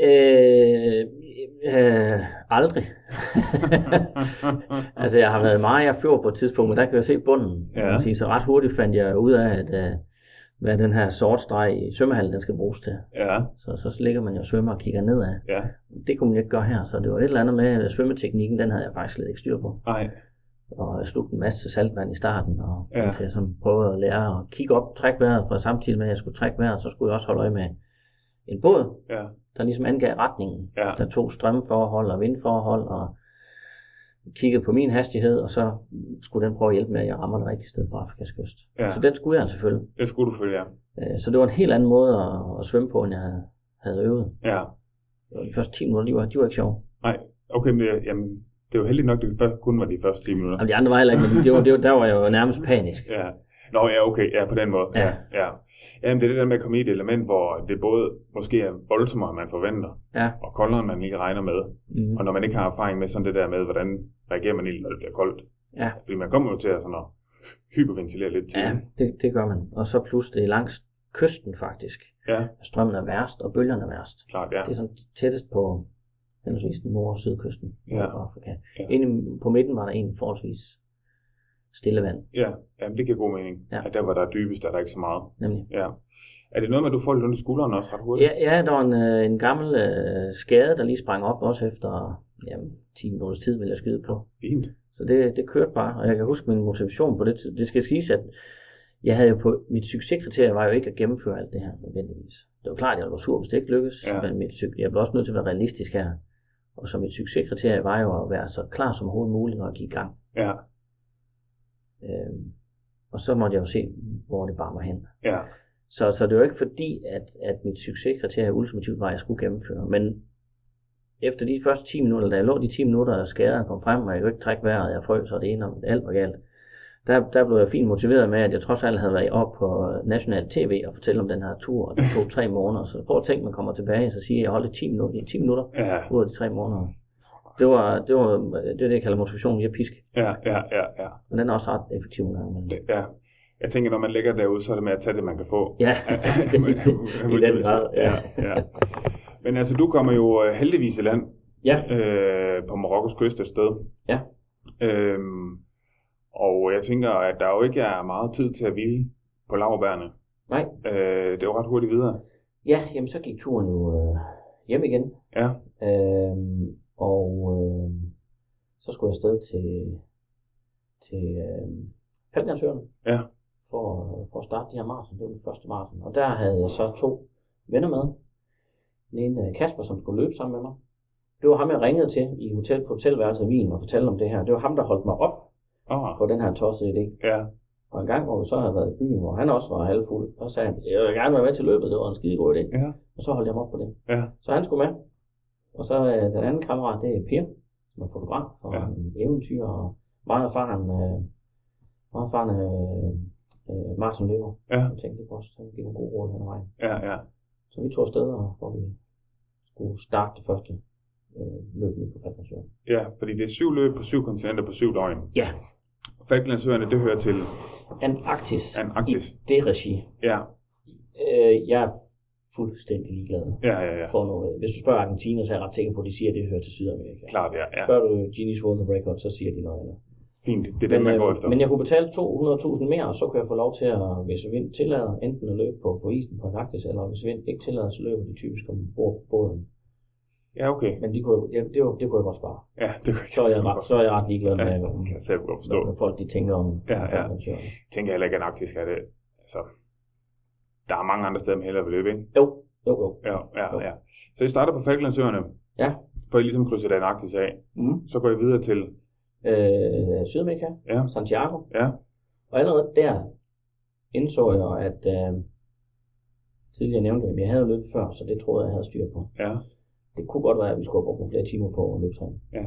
Øh, øh, aldrig. altså, jeg har været meget af fjord på et tidspunkt, men der kan jeg se bunden. Ja. kan man Sige. Så ret hurtigt fandt jeg ud af, at, øh, hvad den her sort streg i svømmehallen, den skal bruges til. ja, Så, så ligger man jo og svømmer og kigger nedad. ja. Det kunne man ikke gøre her, så det var et eller andet med at svømmeteknikken, den havde jeg faktisk slet ikke styr på. Nej. og jeg slugte en masse saltvand i starten, og Ja. ja. til jeg sådan prøvede at lære at kigge op, trække vejret, for samtidig med, at jeg skulle trække vejret, så skulle jeg også holde øje med en båd, Ja, der ligesom angav retningen. ja, Der tog strømforhold og vindforhold, og kiggede på min hastighed, og så skulle den prøve at hjælpe med, at jeg rammer det rigtige sted på Afrikas kyst. Ja. Så den skulle jeg selvfølgelig. det skulle du følge, ja. Øh, Så det var en helt anden måde at, at svømme på, end jeg havde, havde øvet. ja. Det var De første 10 minutter, de var, de var ikke sjove. Okay, men det- jamen, det var heldigt nok, det først kun var de første 10 minutter. Og de andre var heller ikke, men det var, det var, der var jeg jo nærmest panisk. Ja. Nå, ja, okay, ja, på den måde. Ja. ja. ja. Jamen, det er det der med at komme i et element, hvor det både måske er voldsommere, end man forventer, Ja. og koldere, end man lige regner med. Mm. Og når man ikke har erfaring med sådan det der med, hvordan reagerer man egentlig, når det bliver koldt. Ja. Fordi man kommer jo til at, sådan at hyperventilere lidt til. Ja, det. det, det gør man. Og så plus det er langs kysten faktisk. ja Strømmen er værst, og bølgerne er værst. klart, ja. Det er sådan tættest på henholdsvis nord- og sydkysten Ja. af Afrika. Ja. Ja. Inde på midten var der en forholdsvis stille vand, Ja, jamen, det giver god mening. Ja. At der, hvor der er dybest, er der ikke så meget. nemlig. Ja. Er det noget med, at du får lidt ondt i skulderen også ret hurtigt? Ja, ja der var en, øh, en gammel øh, skade, der lige sprang op, også efter jamen, 10 minutters tid, ville jeg skyde på. Fint. Så det, det kørte bare, og jeg kan huske min motivation på det. tid- Det skal siges, at jeg havde jo på, mit succeskriterie var jo ikke at gennemføre alt det her nødvendigvis. Det var klart, at jeg var sur, hvis det ikke lykkedes, Ja. ja. men mit, suc- jeg blev også nødt til at være realistisk her. Og så mit succeskriterie var jo at være så klar som overhovedet muligt, når jeg gik i gang. Ja, Øhm, og så måtte jeg jo se, hvor det bar mig hen. ja, Så, så det var ikke fordi, at, at mit succeskriterie ultimativt var, at jeg skulle gennemføre. Men efter de første 10 minutter, da jeg lå de 10 minutter, og skaderne kom frem, og jeg kunne ikke trække vejret, og jeg frøs, og det ene og alt var galt, der, der blev jeg fint motiveret med, at jeg trods alt havde været op på øh, national tv og fortælle om den her tur, og det tog tre måneder. Så prøv at tænke, man kommer tilbage, så siger jeg, jeg holdt i 10 minutter, i 10 minutter ja, ud af de tre måneder. Det var det, var, det, var det jeg kalder motivation via pisk, ja, ja, ja, ja. men den er også ret effektiv en gang. imellem. Det, ja. Jeg tænker, når man ligger derude, så er det med at tage det, man kan få. Ja, i den grad. ja, ja. Men altså, du kommer jo øh, heldigvis i land ja. øh, på Marokkos kyst et sted. Ja. Øhm, og jeg tænker, at der jo ikke er meget tid til at hvile på laverbærene. Nej. Øh, det er jo ret hurtigt videre. Ja, jamen så gik turen jo øh, hjem igen. Ja. Øhm, og øh, så skulle jeg afsted til, til øh, Falklandsøerne. Ja. For, for at starte de her maraton. Det var den første maraton. Og der havde jeg så to venner med. Den ene øh, Kasper, som skulle løbe sammen med mig. Det var ham, jeg ringede til i hotel, på hotelværelset i Wien og fortalte om det her. Det var ham, der holdt mig op Åh, på den her tossede idé. ja, Og en gang, hvor vi så havde været i byen, hvor han også var halvfuld, så sagde han, jeg vil gerne være med til løbet, det var en skide god idé. Ja. Og så holdt jeg mig op på det. Ja. Så han skulle med. Og så øh, den anden kammerat, det er Per, som er fotograf og Ja. ja. en eventyr og meget erfaren, øh, meget erfaren øh, øh, maratonløber. Ja. Jeg tænkte det kunne også give nogle gode råd hen ad vejen. Ja, ja. Så vi tog afsted, og hvor vi skulle starte det første øh, løb ned på Christiansø. Ja, fordi det er syv løb på syv kontinenter på syv døgn. Ja, Falklandsøerne, det hører til Antarktis, Antarktis. i det regi. Ja, Øh, jeg er fuldstændig ligeglad. ja, ja, ja. For noget. Hvis du spørger Argentina, så er jeg ret sikker på, at de siger, at det hører til Sydamerika. Klart, ja. ja. Spørger du Guinness World Record, så siger de noget andet. Fint, det er det, man øh, går efter. men jeg kunne betale 200.000 mere, og så kunne jeg få lov til at, hvis vind tillader, enten at løbe på, på isen på Antarktis, eller hvis vind ikke tillader, så løber de typisk om bord på båden. Ja, okay. Men de kunne, jeg, det, var, det kunne jeg godt spare. Ja, det kan Så er jeg, ret, så er jeg ret ligeglad med, Ja, hvad, kan jeg selv godt hvad, forstå. hvad folk de tænker om. Ja, ja. om arrangørerne. tænker heller ikke, at Antarktis er det. Altså, der er mange andre steder, man hellere vil løbe, ikke? Jo, jo, jo. Ja, ja, ja. Så I starter på Falklandsøerne. Ja. For I ligesom krydser den Antarktis af. Mm. Så går I videre til... øh, Sydamerika, Ja. Santiago. Ja. Og allerede der indså jeg, at øh, tidligere nævnte jeg, at jeg havde løbet før, så det troede jeg, jeg havde styr på. Ja, Det kunne godt være, at vi skulle have brugt nogle flere timer på at løbe træning. ja,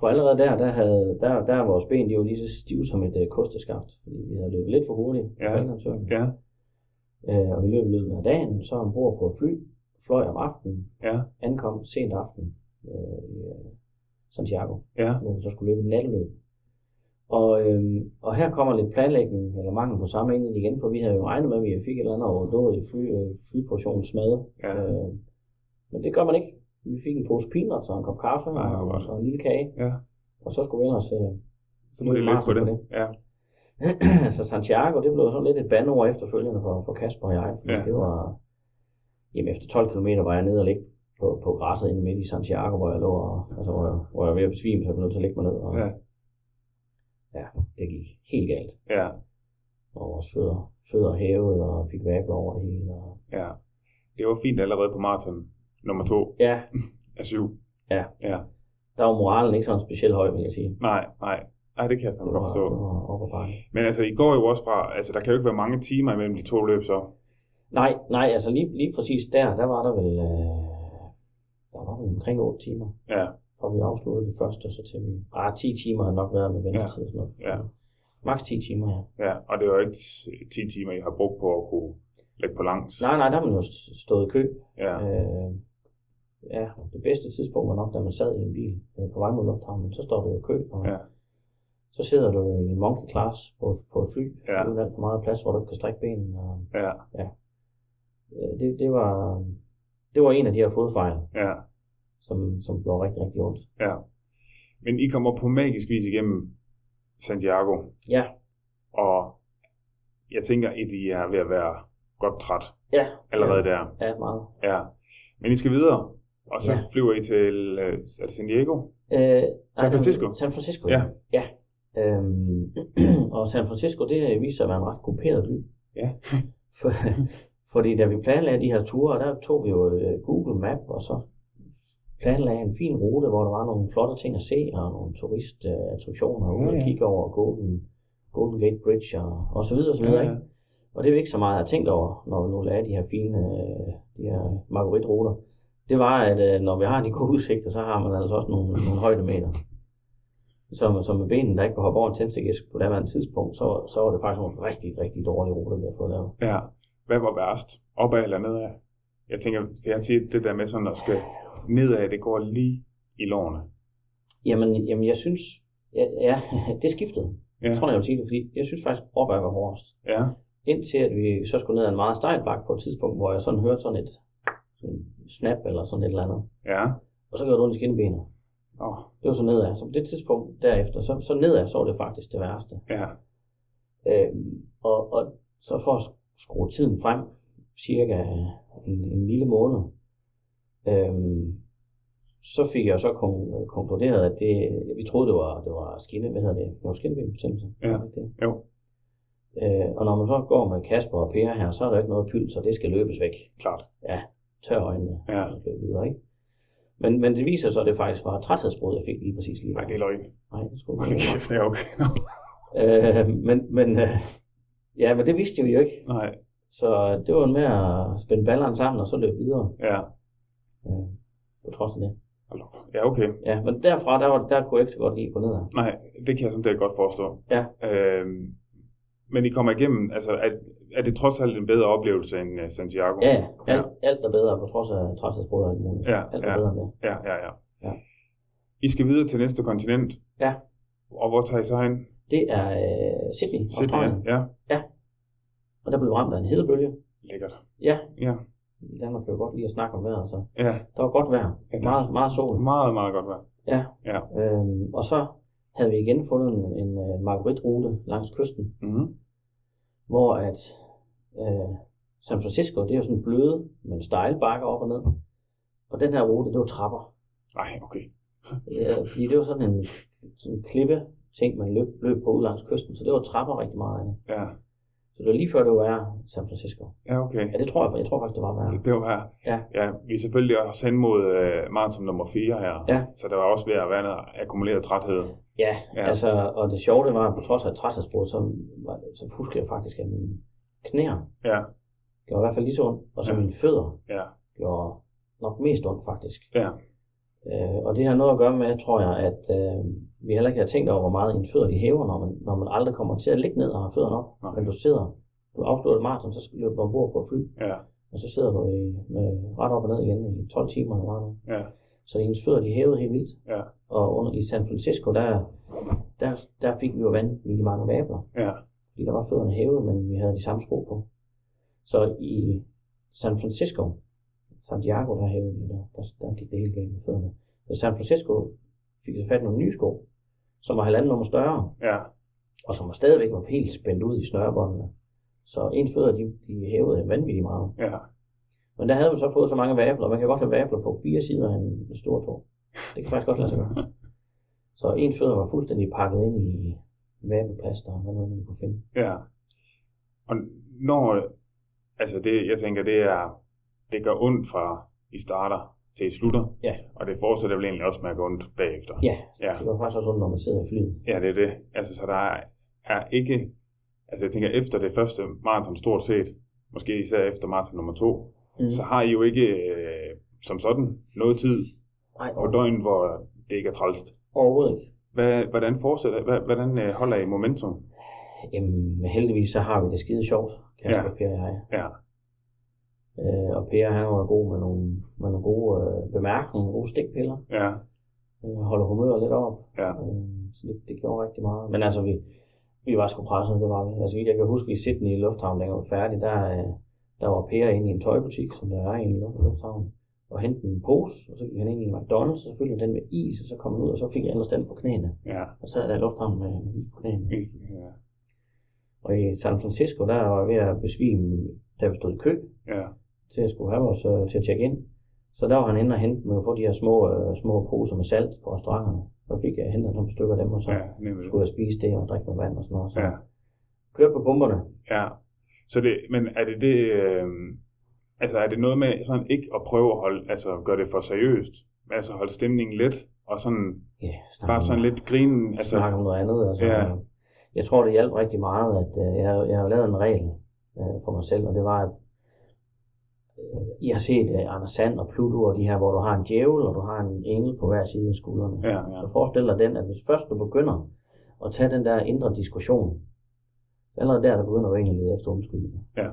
For allerede der, der, havde, der, der er vores ben de var lige så stive som et øh, kosteskaft, fordi vi havde løbet lidt for hurtigt. på Ja. Englandsøen. ja, Øh, og vi løb i løbet af dagen, så ombord på et fly, fløj om aftenen, ja, ankom sent aften øh, i øh, Santiago. ja, hvor vi så skulle løbe et natteløb. Og, øhm, og her kommer lidt planlægning, eller mangel på samme egentlig igen, for vi havde jo regnet med, at vi fik et eller andet overdået i fly, øh, flyportionen smad. ja, Øh, men det gør man ikke. Vi fik en pose peanuts og en kop kaffe Nej, hvor og, godt. og så en lille kage, ja. og så skulle vi ellers... Øh, Så må I løbe på det. Ja, så altså Santiago, det blev sådan lidt et bandord efterfølgende for, for Kasper og jeg, fordi Ja. ja. det var... Jamen efter 12 km var jeg nede og ligge på, på græsset inde midt i Santiago, hvor jeg lå og, altså, hvor, jeg, hvor jeg var ved at besvime, så jeg blev nødt til at lægge mig ned. Og, ja, ja, det gik helt galt. ja, og vores fødder, fødder hævet og fik vabler over det hele. Og... ja. Det var fint allerede på maraton nummer to Ja, af syv. Ja. Ja. der var moralen ikke sådan specielt høj, vil jeg sige. Nej, nej. Nej, det kan jeg fandme Det godt var, det forstå. var op og bakke. Men altså, I går jo også fra... Altså, der kan jo ikke være mange timer imellem de to løb så. Nej, nej, altså lige, lige præcis der, der var der vel, øh, der var vel omkring 8 timer, Ja, fra vi afsluttede det første, så til vi, ah, 10 timer har nok været med ventetid og sådan noget. Ja. Max 10 timer, ja. ja. Og det er jo ikke 10 timer, I har brugt på at kunne lægge på langs. Nej, nej, der har man jo st- stået i kø. Ja, Øh, ja, det bedste tidspunkt var nok, da man sad i en bil øh, på vej mod lufthavnen, så står du i kø, og Ja. så sidder du i en monkey class på, på et fly, Ja. uden alt for meget plads, hvor du ikke kan strække benene. Og, ja, øh, det, det, var, det var en af de her fodfejl, ja. som, som gjorde rigtig, rigtig ondt. Ja. Men I kommer på magisk vis igennem Santiago, Ja, og jeg tænker, at I er ved at være godt træt ja. allerede der. Ja, meget. Ja. Men I skal videre, og så Ja. flyver I til øh, er det San Diego? Øh, nej, Francisco? San Francisco, Ja. ja. Øhm, og San Francisco, det øh, viser sig at være en ret kuperet by. Ja. For, fordi da vi planlagde de her ture, der tog vi jo øh, Google Map, og så planlagde en fin rute, hvor der var nogle flotte ting at se, og nogle turistattraktioner, og Ja, ude ja. og kigge over Golden, Golden Gate Bridge, og, og så videre, og så videre, ikke? Og det er vi ikke så meget har tænkt over, når vi nu laver de her fine øh, de her margueritruter. Det var, at øh, når vi har de gode udsigter, så har man altså også nogle, nogle højdemeter. Som, som med benene, der ikke kunne hoppe over en tændstikæsk på daværende tidspunkt, så, så var det faktisk nogle rigtig, rigtig dårlige ruter, vi havde fået lavet. ja. Hvad var værst? Opad eller nedad? Jeg tænker, kan jeg sige, det der med sådan at skal nedad, det går lige i lårene. Jamen, jamen jeg synes, ja, ja det skiftede. Ja. Jeg tror, jeg vil sige det, fordi jeg synes faktisk, opad var hårdest. Ja, Indtil at vi så skulle ned ad en meget stejl bakke på et tidspunkt, hvor jeg sådan hørte sådan et sådan et snap eller sådan et eller andet. ja. Og så gjorde det ondt i skinbenet. Åh, Det var så nedad. Så på det tidspunkt derefter, så, så nedad, så var det faktisk det værste. ja, Øhm, og, og så for at skrue tiden frem, cirka en, en lille måned, øhm, så fik jeg så kon- konkluderet, at det, vi troede, det var, det var skinne, hvad hedder det, det var skinnebenbetændelse. Ja, var det ikke det? jo. Øh, og når man så går med Kasper og Per her, så er der ikke noget pyld, så det skal løbes væk. klart. Tør øjnene Ja. og løbe videre, ikke? Men, men det viser sig, at det faktisk var træthedsbrud, jeg fik lige præcis lige. Nej, det er løgn. Nej, det skulle Hold ikke. da kæft, det er okay. Nå, Øh, men, men, øh, ja, men det vidste vi jo ikke. Nej, Så det var med at spænde ballerne sammen og så løbe videre ja. øh, på trods af det. Hold op. Ja, okay. Ja, men derfra, der, var, der kunne jeg ikke så godt lide at gå ned ad. Nej, det kan jeg sådan set godt forstå. Ja. Øhm, men I kommer igennem, altså er, er det trods alt en bedre oplevelse end øh, Santiago? Ja, ja. Alt, alt er bedre, på trods af træthedsbrød og alt muligt. Ja, alt er ja. bedre end det. Ja, ja, ja. Ja. I skal videre til næste kontinent. Ja. Og hvor tager I så hen? Det er øh, Sydney, Australien, Sydney. Ja, og der blev vi ramt af en hedebølge. lækkert. Ja, Ja, i Danmark kan jo godt lide at snakke om vejret, så ja. der var godt vejr, Ja, der- meget, meget sol. Meget, meget godt vejr. Ja. Ja. Øhm, og så havde vi igen fundet en, en øh, margaritrute langs kysten, Mm-hmm. hvor at øh, San Francisco, det er jo sådan bløde, men stejle bakker op og ned. Og den her rute, det var trapper. Ej, okay. Ja, fordi det var sådan en sådan en klippe ting, man løb, løb på ud langs kysten, så det var trapper rigtig meget af det. Ja, Så det var lige før det var værre, San Francisco. ja okay. Ja, det tror jeg, jeg tror faktisk, det var værre. Det- Det var her. Ja. ja. Vi er selvfølgelig også hen mod øh, maraton nummer 4 her. Ja. Så der var også ved at være noget akkumuleret træthed. Ja, Ja. ja, altså, og det sjove det var, at på trods af træthedsbrud, så, var det- så husker jeg faktisk, at mine knæer Ja, gjorde i hvert fald lige så ondt, og så Ja. ja. mine fødder ja, gjorde nok mest ondt faktisk. ja. Øh, og det har noget at gøre med, tror jeg, at øh, vi heller ikke har tænkt over, hvor meget ens fødder de hæver, når man, når man aldrig kommer til at ligge ned og har fødderne op. Nej. Men du sidder, du afslutter et maraton, så skal du løbe ombord på et fly, Ja, og så sidder du i, med ret op og ned igen i 12 timer eller meget. ja, Så ens fødder de hævede helt vildt. Ja. Og under, i San Francisco, der, der, der fik vi jo vanvittigt mange vabler ja, fordi der var fødderne hævet, men vi havde de samme sko på. Så i San Francisco, Santiago, der hævede vi, der, der, der gik det helt galt med fødderne. Så San Francisco fik så fat i nogle nye sko, som var halvanden nummer større, ja. og som var stadigvæk var helt spændt ud i snørebåndene. Så ens fødder, de, de hævede vanvittigt meget. ja. Men der havde man så fået så mange vabler, og man kan godt have vabler på fire sider af en stor tog. Det kan faktisk godt lade sig gøre. Så ens fødder var fuldstændig pakket ind i vabelplaster, og hvad man kunne finde. Ja. Og når, altså det, jeg tænker, det er, det gør ondt fra I starter til I slutter. Ja. Og det fortsætter vel egentlig også med at gå ondt bagefter. Ja, Ja, Det var faktisk også sådan, når man sidder i flyet. ja det er det. Altså, så der er, er ikke, altså jeg tænker, efter det første maraton stort set, måske især efter maraton nummer to, Mm. så har I jo ikke øh, som sådan noget tid Nej, på over, døgnet, hvor det ikke er trælst. overhovedet ikke. Hvad, hvordan fortsætter, hvad, hvordan øh, holder I momentum? Jamen, heldigvis så har vi det skide sjovt, Kasper, ja. Per og jeg. Ja, Øh, og Per, han var god med nogle, med nogle gode øh, bemærkninger, gode stikpiller. ja, Øh, holder humøret lidt op. ja, Øh, så det, det gjorde rigtig meget. Men altså, vi, vi var sgu presset, det var vi. Altså, jeg kan huske, i Sydney i Lufthavn, da jeg var færdig, der, øh, der var Per inde i en tøjbutik, som der er i en lu- lufthavn, og hentede en pose, og så gik han ind i en McDonald's, og så fyldte han den med is, og så kom han ud, og så fik jeg ellers den på knæene. ja, Og så sad der i lufthavnen med, med is på knæene. ja, Og i San Francisco, der var jeg ved at besvime, da vi stod i kø ja, til at skulle have vores, øh, til at tjekke ind. Så der var han inde og hente med at få de her små, øh, små poser med salt på restauranterne. Så fik jeg hentet nogle stykker af dem, og så ja. ja, nemlig. skulle jeg spise det og drikke noget vand og sådan noget. Så Ja, kørte på pumperne. ja. Så det, men er det det, øh, altså er det noget med sådan ikke at prøve at holde, altså gøre det for seriøst, altså holde stemningen lidt, og sådan Ja, snakke bare om- sådan lidt grinen, altså, snakke om noget andet. Altså, Ja. ja. Jeg tror, det hjalp rigtig meget, at øh, jeg, jeg har lavet en regel øh, for mig selv, og det var, at øh, jeg har set øh, Anders Sand og Pluto og de her, hvor du har en djævel, og du har en engel på hver side af skuldrene. ja, ja, Så forestil dig den, at hvis først du begynder at tage den der indre diskussion, så allerede der, der begynder du egentlig at lede efter undskyldninger. Ja.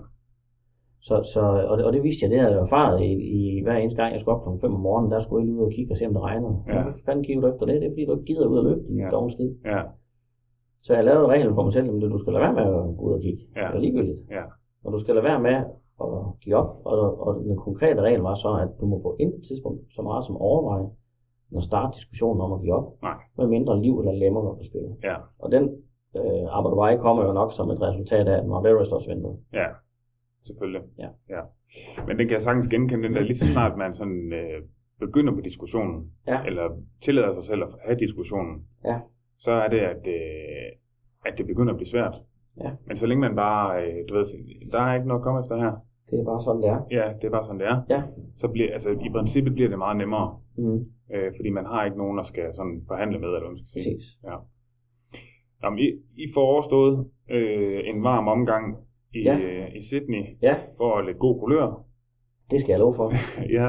Så, så, og, det, og det vidste jeg, det havde jeg erfaret i, i hver eneste gang, jeg skulle op kl. 5 om morgenen, der skulle jeg lige ud og kigge og se, om det regnede. Ja. Hvad fanden kigger du efter det? Det er fordi, du ikke gider ud og løbe, din Ja. ja. dogne skid. ja, Så jeg lavede reglen for mig selv, at du skal lade være med at gå ud og kigge. Ja. Det er ligegyldigt. Ja. Og du skal lade være med at give op. Og, og den konkrete regel var så, at du må på intet tidspunkt så meget som overveje, når starte diskussionen om at give op. Nej. Med mindre liv eller lemmer var på spil. Ja. Og den øh, arbejde vej kommer jo nok som et resultat af, at Mount Everest også ventede. selvfølgelig. Ja. ja. Men den kan jeg sagtens genkende, den der lige så snart man sådan øh, begynder på diskussionen, Mm. Ja. eller tillader sig selv at have diskussionen, Ja. så er det, at, øh, at det begynder at blive svært. Ja. Men så længe man bare, øh, du ved, der er ikke noget at komme efter her, Det er bare sådan, det er. Ja, det er bare sådan, det er. Ja. Så bliver, altså, i princippet bliver det meget nemmere, Mm, øh, fordi man har ikke nogen, der skal sådan forhandle med, eller hvad man skal sige. præcis. Jamen, I, I får overstået øh, en varm omgang i, Ja. øh, i Sydney Ja, for at lægge god kulør. Det skal jeg love for. ja.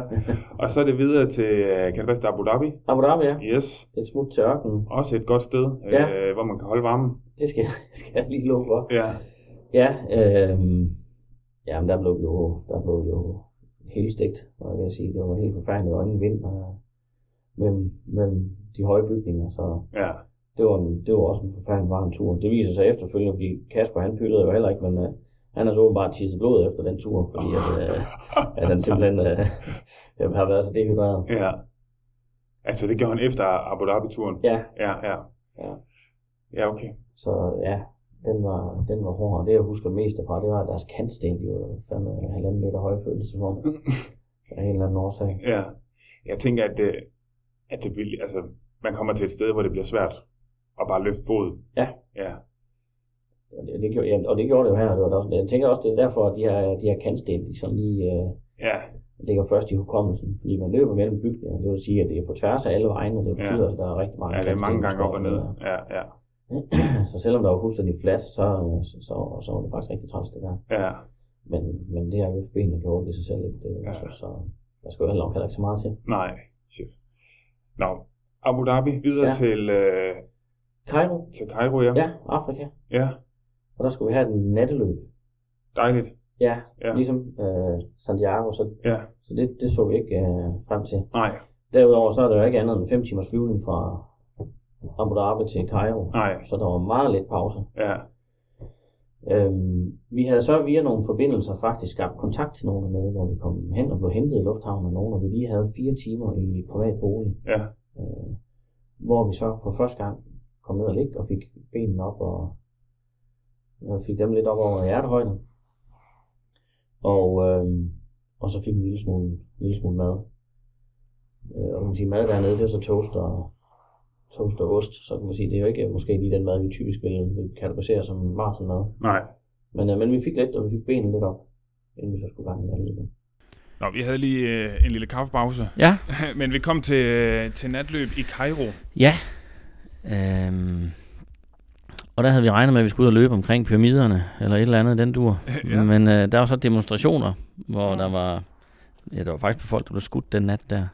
Og så er det videre til, øh, kan det passe, det er Abu Dhabi? Abu Dhabi, ja. Yes. Et smut til ørkenen. Også et godt sted, øh, Ja. hvor man kan holde varmen. Det skal, skal jeg lige love for. Ja. Ja, øhm, jamen der blev jo, der blev jo helt stegt, var jeg ved at sige. Det var helt forfærdeligt, og ingen vind og mellem, mellem de høje bygninger, så Ja. det var, en, det var også en forfærdelig varm tur. Det viser sig efterfølgende, fordi Kasper han pyttede jo heller ikke, men øh, han har så åbenbart tisset blod efter den tur, fordi at, øh, at han simpelthen øh, har været så dehydreret. Ja. Altså, det gjorde han efter Abu Dhabi-turen? Ja, Ja, ja. Ja. Ja, okay. så ja, den var, den var hård, og det jeg husker mest derfra, det var, at deres kantsten, de var fandme halvanden meter høje følelse som om, af en eller anden årsag. Ja. Jeg tænker, at det, at det vil, altså, man kommer til et sted, hvor det bliver svært at bare løfte fod. Ja. Ja. Og det, det gjorde, ja, og det gjorde det jo her, og det var da også, jeg tænker også, det er derfor, at de her, de her kantsten, de sådan lige, øh, Ja. ligger først i hukommelsen, fordi man løber mellem bygninger. Det vil sige, at det er på tværs af alle vejen, og det Ja. betyder, ja. at der er rigtig mange Ja, det er mange kantsten, gange op og ned. der. Ja, ja. Så selvom der var fuldstændig fladt, så, så, så, så var det faktisk rigtig træls det der. Ja. Men, men det her med benene gjorde det i sig selv ikke. Det, Ja. ja. så, så, der skulle jo heller heller ikke så meget til. Nej. Shit. Nå. Abu Dhabi videre ja. Ja. til, øh, Cairo? til Cairo, ja. Ja, Afrika. ja. Og der skulle vi have et natteløb. Dejligt. Ja, Ja. ja. ligesom øh, Santiago, så, Ja. så det, det så vi ikke øh, frem til. Nej. Derudover så er der jo ikke andet end 5 timers flyvning fra Abu Dhabi til Cairo. Nej. Så der var meget lidt pause. Ja. Øhm, vi havde så via nogle forbindelser faktisk skabt kontakt til nogen dernede, hvor vi kom hen og blev hentet i lufthavnen af nogen, og vi lige havde fire timer i privat bolig, Ja. øh, hvor vi så for første gang kom ned og ligge og fik benene op og, og fik dem lidt op over hjertehøjden. Og, øh, og så fik vi en lille smule, en lille smule mad. Øh, og man kan sige, mad dernede, det er så toast og, toast og ost, så kan man sige, det er jo ikke øh, måske lige den mad, vi typisk vil, vil kategorisere som maratonmad. Nej. Men, øh, men vi fik lidt, og vi fik benene lidt op, inden vi så skulle i gang med alt det. Nå, vi havde lige øh, en lille kaffepause, Ja, men vi kom til, øh, til natløb i Cairo. ja. Øhm. Og der havde vi regnet med, at vi skulle ud og løbe omkring pyramiderne, eller et eller andet i den dur. Ja. ja. Men øh, der var så demonstrationer, hvor der var... Ja, der var faktisk folk, der blev skudt den nat der.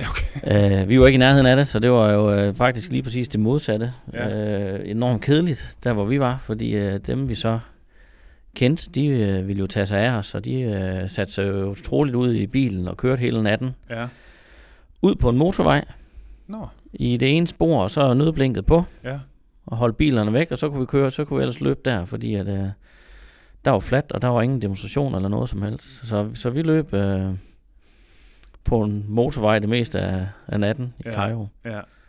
Okay. Øh, vi var ikke i nærheden af det, så det var jo øh, faktisk lige præcis det modsatte. Ja. Øh, enormt kedeligt, der hvor vi var, fordi øh, dem vi så kendte, de øh, ville jo tage sig af os, og de øh, satte sig jo troligt ud i bilen og kørte hele natten Ja. ud på en motorvej Nå, i det ene spor, og så nødblinket på. ja. og holde bilerne væk, og så kunne vi køre, så kunne vi ellers løbe der, fordi at, øh, der var fladt, og der var ingen demonstration eller noget som helst. Så, så vi løb øh, på en motorvej det meste af, af natten i Ja. ja. Cairo.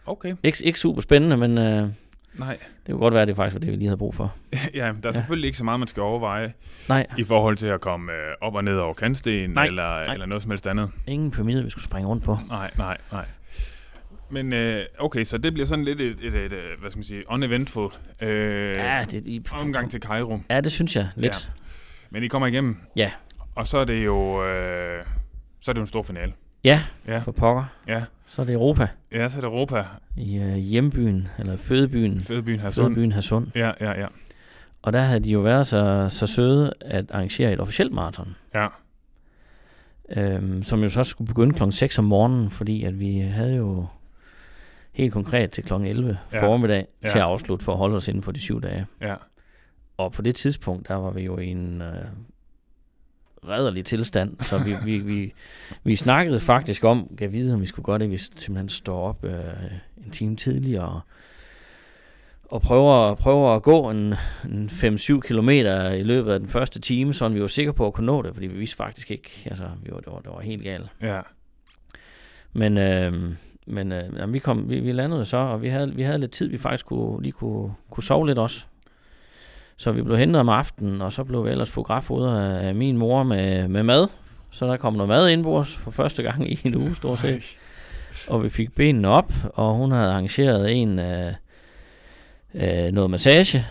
Okay, Ikke, ikke super spændende, men øh, nej. det kunne godt være, at det faktisk var det, vi lige havde brug for. Ja, der er Ja. selvfølgelig ikke så meget, man skal overveje Nej, i forhold til at komme øh, op og ned over kantsten Nej, eller, nej. eller noget som helst andet. ingen pyramide, vi skulle springe rundt på. Nej, nej, nej. Men øh, okay, så det bliver sådan lidt et, et, et, et hvad skal man sige, uneventful øh, Ja, det, i, omgang til Cairo. ja, det synes jeg lidt. Men I kommer igennem. Ja. Og så er det jo, øh, så er det jo en stor finale. Ja, ja, Ja. for pokker. Ja. Så er det Europa Ja, så er det Europa, i øh, hjembyen, eller fødebyen, fødebyen her Sund. fødebyen Hasund. Ja, ja, ja. Og der havde de jo været så, så søde at arrangere et officielt maraton. Ja. Øhm, som jo så skulle begynde klokken 6 om morgenen, fordi at vi havde jo helt konkret til klokken 11 Ja. ja. formiddag Ja. ja. til at afslutte for at holde os inden for de syv dage. Ja. Og på det tidspunkt, der var vi jo i en øh, redderlig tilstand, så vi, vi, vi, vi snakkede faktisk om, kan vide, om vi skulle gøre det, hvis vi simpelthen står op øh, en time tidligere og prøver, prøver at gå en, en 5-7 kilometer i løbet af den første time, så vi var sikre på at kunne nå det, fordi vi vidste faktisk ikke, altså vi var, det, var, det var helt galt. Ja. Men, øh, men øh, jamen, vi, kom, vi, vi landede så, og vi havde, vi havde lidt tid, vi faktisk kunne, lige kunne, kunne sove lidt også. Så vi blev hentet om aftenen, og så blev vi ellers fotografodret af, af min mor med, med mad. Så der kom noget mad indbords for første gang i en uge, stort set. Og vi fik benene op, og hun havde arrangeret en øh, øh, noget massage.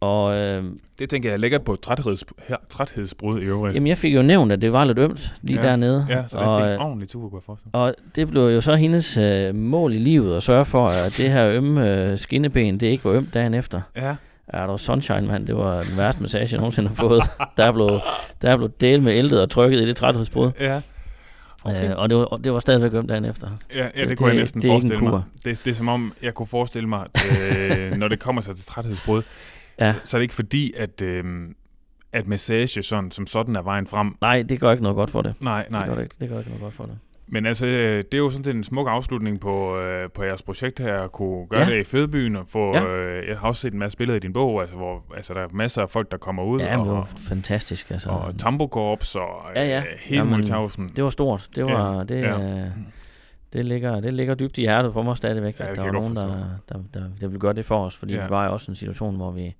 Og øh, Det tænker jeg er lækkert på et trætheds, her, træthedsbrud i øvrigt. jamen, jeg fik jo nævnt, at det var lidt ømt lige Ja, dernede. ja, så det og, er øh, en ordentlig tur, kunne jeg forestille mig. Og det blev jo så hendes øh, mål i livet at sørge for, at det her ømme øh, skinneben, det ikke var ømt dagen efter. Ja, Ja, der var sunshine, mand. Det var den værste massage, jeg nogensinde har fået. Der blev, der blev del med ældet og trykket i det træthedsbrud. Ja, Okay. Øh, og det var, og det var stadigvæk ømt dagen efter. ja, ja Så det, det kunne jeg det- næsten det er ikke en forestille mig. kur. Det, det er som om, jeg kunne forestille mig, at, øh, når det kommer sig til træthedsbrud, Ja. så, så er det ikke fordi, at, øh, at massage sådan, som sådan er vejen frem. Nej, det gør ikke noget godt for det. Nej, Det gør, nej. det ikke, det gør ikke noget godt for det. Men altså, øh, det er jo sådan set en smuk afslutning på, øh, på jeres projekt her, at kunne gøre ja. Ja. det i Fødebyen og få, ja. Ja. øh, jeg har også set en masse billeder i din bog, altså, hvor altså, der er masser af folk, der kommer ud Ja, men det og, var fantastisk. Altså. og tambokorps og øh, Ja, ja. hele Jamen, muligtavsen. Det var stort. Det var det. ja. Ja. Det ligger, det ligger dybt i hjertet for mig stadigvæk, Ja, ja, det at kan der var jeg godt nogen, der, der, der, der ville gøre det for os, fordi Ja. ja. vi var jo også i en situation, hvor vi,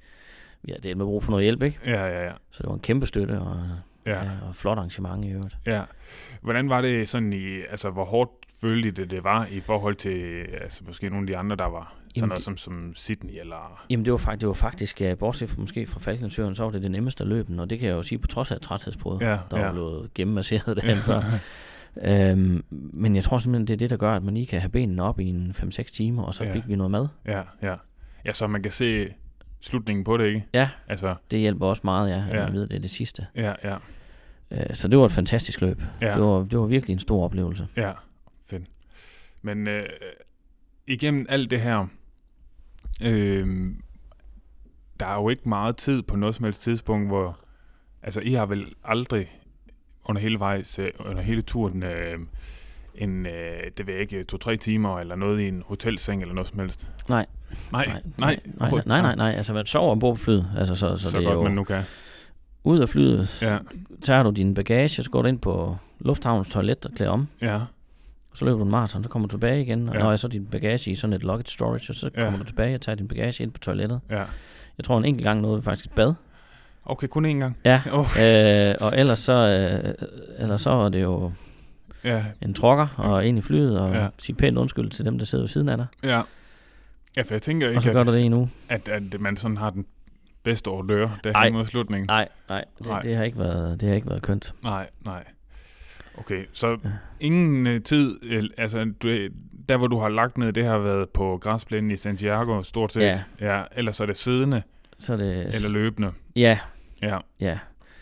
vi havde delt med brug for noget hjælp, ikke? Ja, ja, ja. Så det var en kæmpe støtte og, ja. ja. Ja, og flot arrangement i øvrigt. Ja. Hvordan var det sådan i, altså hvor hårdt følte I det, det var i forhold til, altså måske nogle af de andre, der var sådan Jamen, noget det- som, som Sydney eller... Jamen det var, fakt, det var faktisk, ja, bortset fra, måske fra Falklandsøen, så var det det nemmeste af løben, og det kan jeg jo sige på trods af træthedsbrud, Ja, der ja. var blevet gennemmasseret derhen før. Øhm, men jeg tror simpelthen, det er det, der gør, at man lige kan have benene op i en 5-6 timer, og så Ja. ja. fik vi noget mad. Ja, ja. Ja, så man kan se slutningen på det, ikke? Ja. Altså, Det hjælper også meget, ja, at Ja. ja. man ved, det er det sidste. ja, ja, Øh, så det var et fantastisk løb. ja, Det, var, det var virkelig en stor oplevelse. ja. Fedt. Men øh, igennem alt det her, øh, der er jo ikke meget tid på noget som helst tidspunkt, hvor... Altså, I har vel aldrig under hele vejs, øh, under hele turen, øh, en, øh, det ved jeg ikke, to-tre timer eller noget i en hotelseng eller noget som helst? Nej. Nej, nej, nej, nej, nej, nej, nej, nej. Altså, man sover ombord på flyet. Altså, så, så, Så, så det er godt jo man nu kan. ud af flyet, ja. Ja, tager du din bagage, så går du ind på lufthavnens toilet og klæder om. ja, Så løber du en maraton, så kommer du tilbage igen, og Ja. ja. når jeg så din bagage i sådan et luggage storage, og så Ja. ja. kommer du tilbage og tager din bagage ind på toilettet. ja. Jeg tror en enkelt gang nåede vi faktisk et bad. Okay, kun én gang. Ja, Åh, oh, øh, og ellers så, øh, ellers så var det jo ja, en trokker og ind i flyet, og Ja. ja. sige pænt undskyld til dem, der sidder ved siden af dig. Ja. Ja, for jeg tænker Og ikke, så gør at, du det i en uge. at, at man sådan har den bedste ordør, der Nej. er mod slutningen. Nej, nej, Nej. det, det, har ikke været, det har ikke været kønt. Nej, nej. Okay, så Ja. ingen øh, tid, øh, altså du, øh, der hvor du har lagt ned, det har været på græsplænen i Santiago stort set. Ja. ja ellers er det siddende Så er det, eller løbende. Ja, Ja, ja.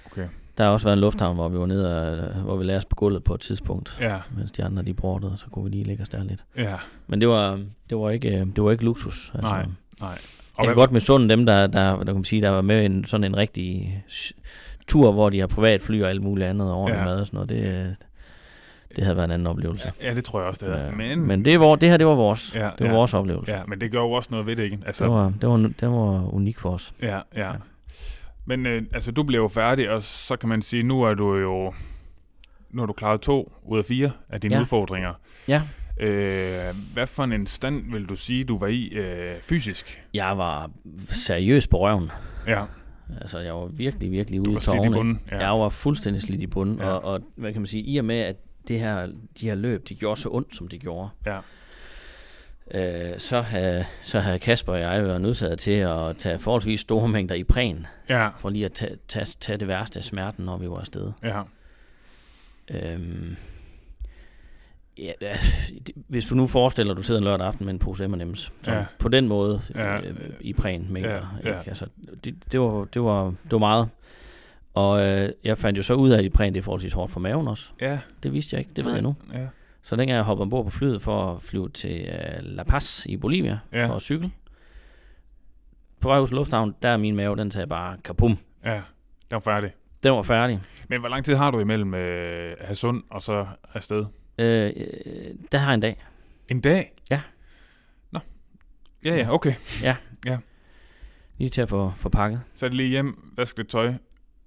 Okay. Der har også været en lufthavn, hvor vi var nede og, hvor vi lagde os på gulvet på et tidspunkt, ja, mens de andre de bordede, så kunne vi lige lægge os der lidt. ja, Men det var, det var, ikke, øh, det var ikke luksus. Altså, Nej. Jeg kan hvad- godt misunde dem, der, der, der, kan man sige, der var med i en, sådan en rigtig s- tur, hvor de har privatfly og alt muligt andet og Ja. ja. mad og sådan noget. Det, øh, det havde været en anden oplevelse. ja, det tror jeg også, det er. Øh, Men, men det, er vor, det her, det var vores. Ja, Det var ja. vores oplevelse. ja, men det gør jo også noget ved det, ikke? Altså, Det, var, det, var, det var unik for os. Ja, ja. Ja. Men øh, altså, du bliver jo færdig, og så kan man sige, nu er du jo... Nu har du klaret to ud af fire af dine ja. Ja. udfordringer. Ja. Øh, hvad for en stand vil du sige, du var i øh, fysisk? Jeg var seriøs på røven. Ja, Altså, jeg var virkelig, virkelig du ude var i slidt i tårne. bunden. Ja. Ja, Jeg var fuldstændig slidt i bunden, Ja. ja. og, og hvad kan man sige, i og med, at det her, de her løb, de gjorde så ondt, som de gjorde, Ja. øh, så, havde, så havde Kasper og jeg været nødsaget til at tage forholdsvis store mængder i præn, ja, for lige at tage, tage, tage det værste af smerten, når vi var afsted. ja. Øhm, ja, ja, det- hvis du nu forestiller, at du sidder en lørdag aften med en pose M&M's, så Ja. ja. på den måde Ja. ja. øh, i præn mængder. Ja, Ja. ja. Ikke? Altså, det, det, var, det, var, det var meget. Og øh, jeg fandt jo så ud af, at i præn det er forholdsvis hårdt for maven også. Ja, Det vidste jeg ikke, det ved jeg nu. ja, Så dengang jeg hoppede ombord på flyet for at flyve til øh, La Paz i Bolivia Ja. ja. for at cykle, på vej ud til lufthavn, der er min mave, den sagde bare kapum. ja. Jeg var færdig. Den var færdig. Men hvor lang tid har du imellem øh, Hasund og så afsted? Øh, øh, der har jeg en dag. En dag? Ja. Nå. Ja, ja, okay. Lige til at få, få pakket. Så er det lige hjem, vaske lidt tøj.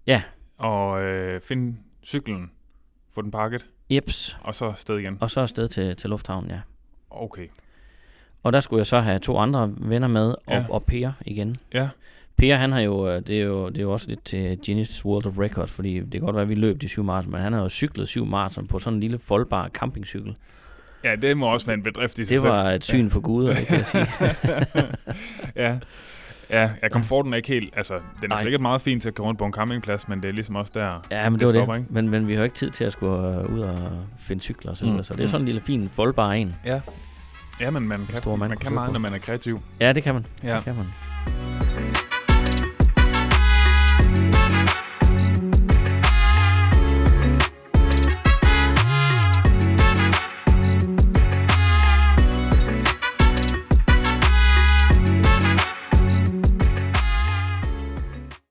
Ja. Og øh, finde cyklen, få den pakket, Jeps. og så afsted igen. Og så afsted til, til lufthavnen, ja. Okay. Og der skulle jeg så have to andre venner med, og, Ja. ja. og Per igen. Ja. Per, han har jo øh, det, er jo, det er jo også lidt til Guinness World of Record, fordi det kan godt være, at vi løb de syv maraton, men han har jo cyklet syv maraton på sådan en lille foldbar campingcykel. Ja, det må også være en bedrift i sig Det selv. var et syn for guder, kan jeg sige. ja. Ja, ja, komforten er ikke helt... Altså, den er Nej. sikkert meget fin til at køre rundt på en campingplads, men det er ligesom også der... Ja, Det men det, det stopper var det. ikke. Men, men vi har jo ikke tid til at skulle øh, ud og finde cykler og så videre, Mm, mm. så det er mm. sådan en lille fin foldbar en. Ja, men man kan, stor mand man kunne kan sidde meget, på. når man er kreativ. Ja, det kan man. Ja. Det kan man.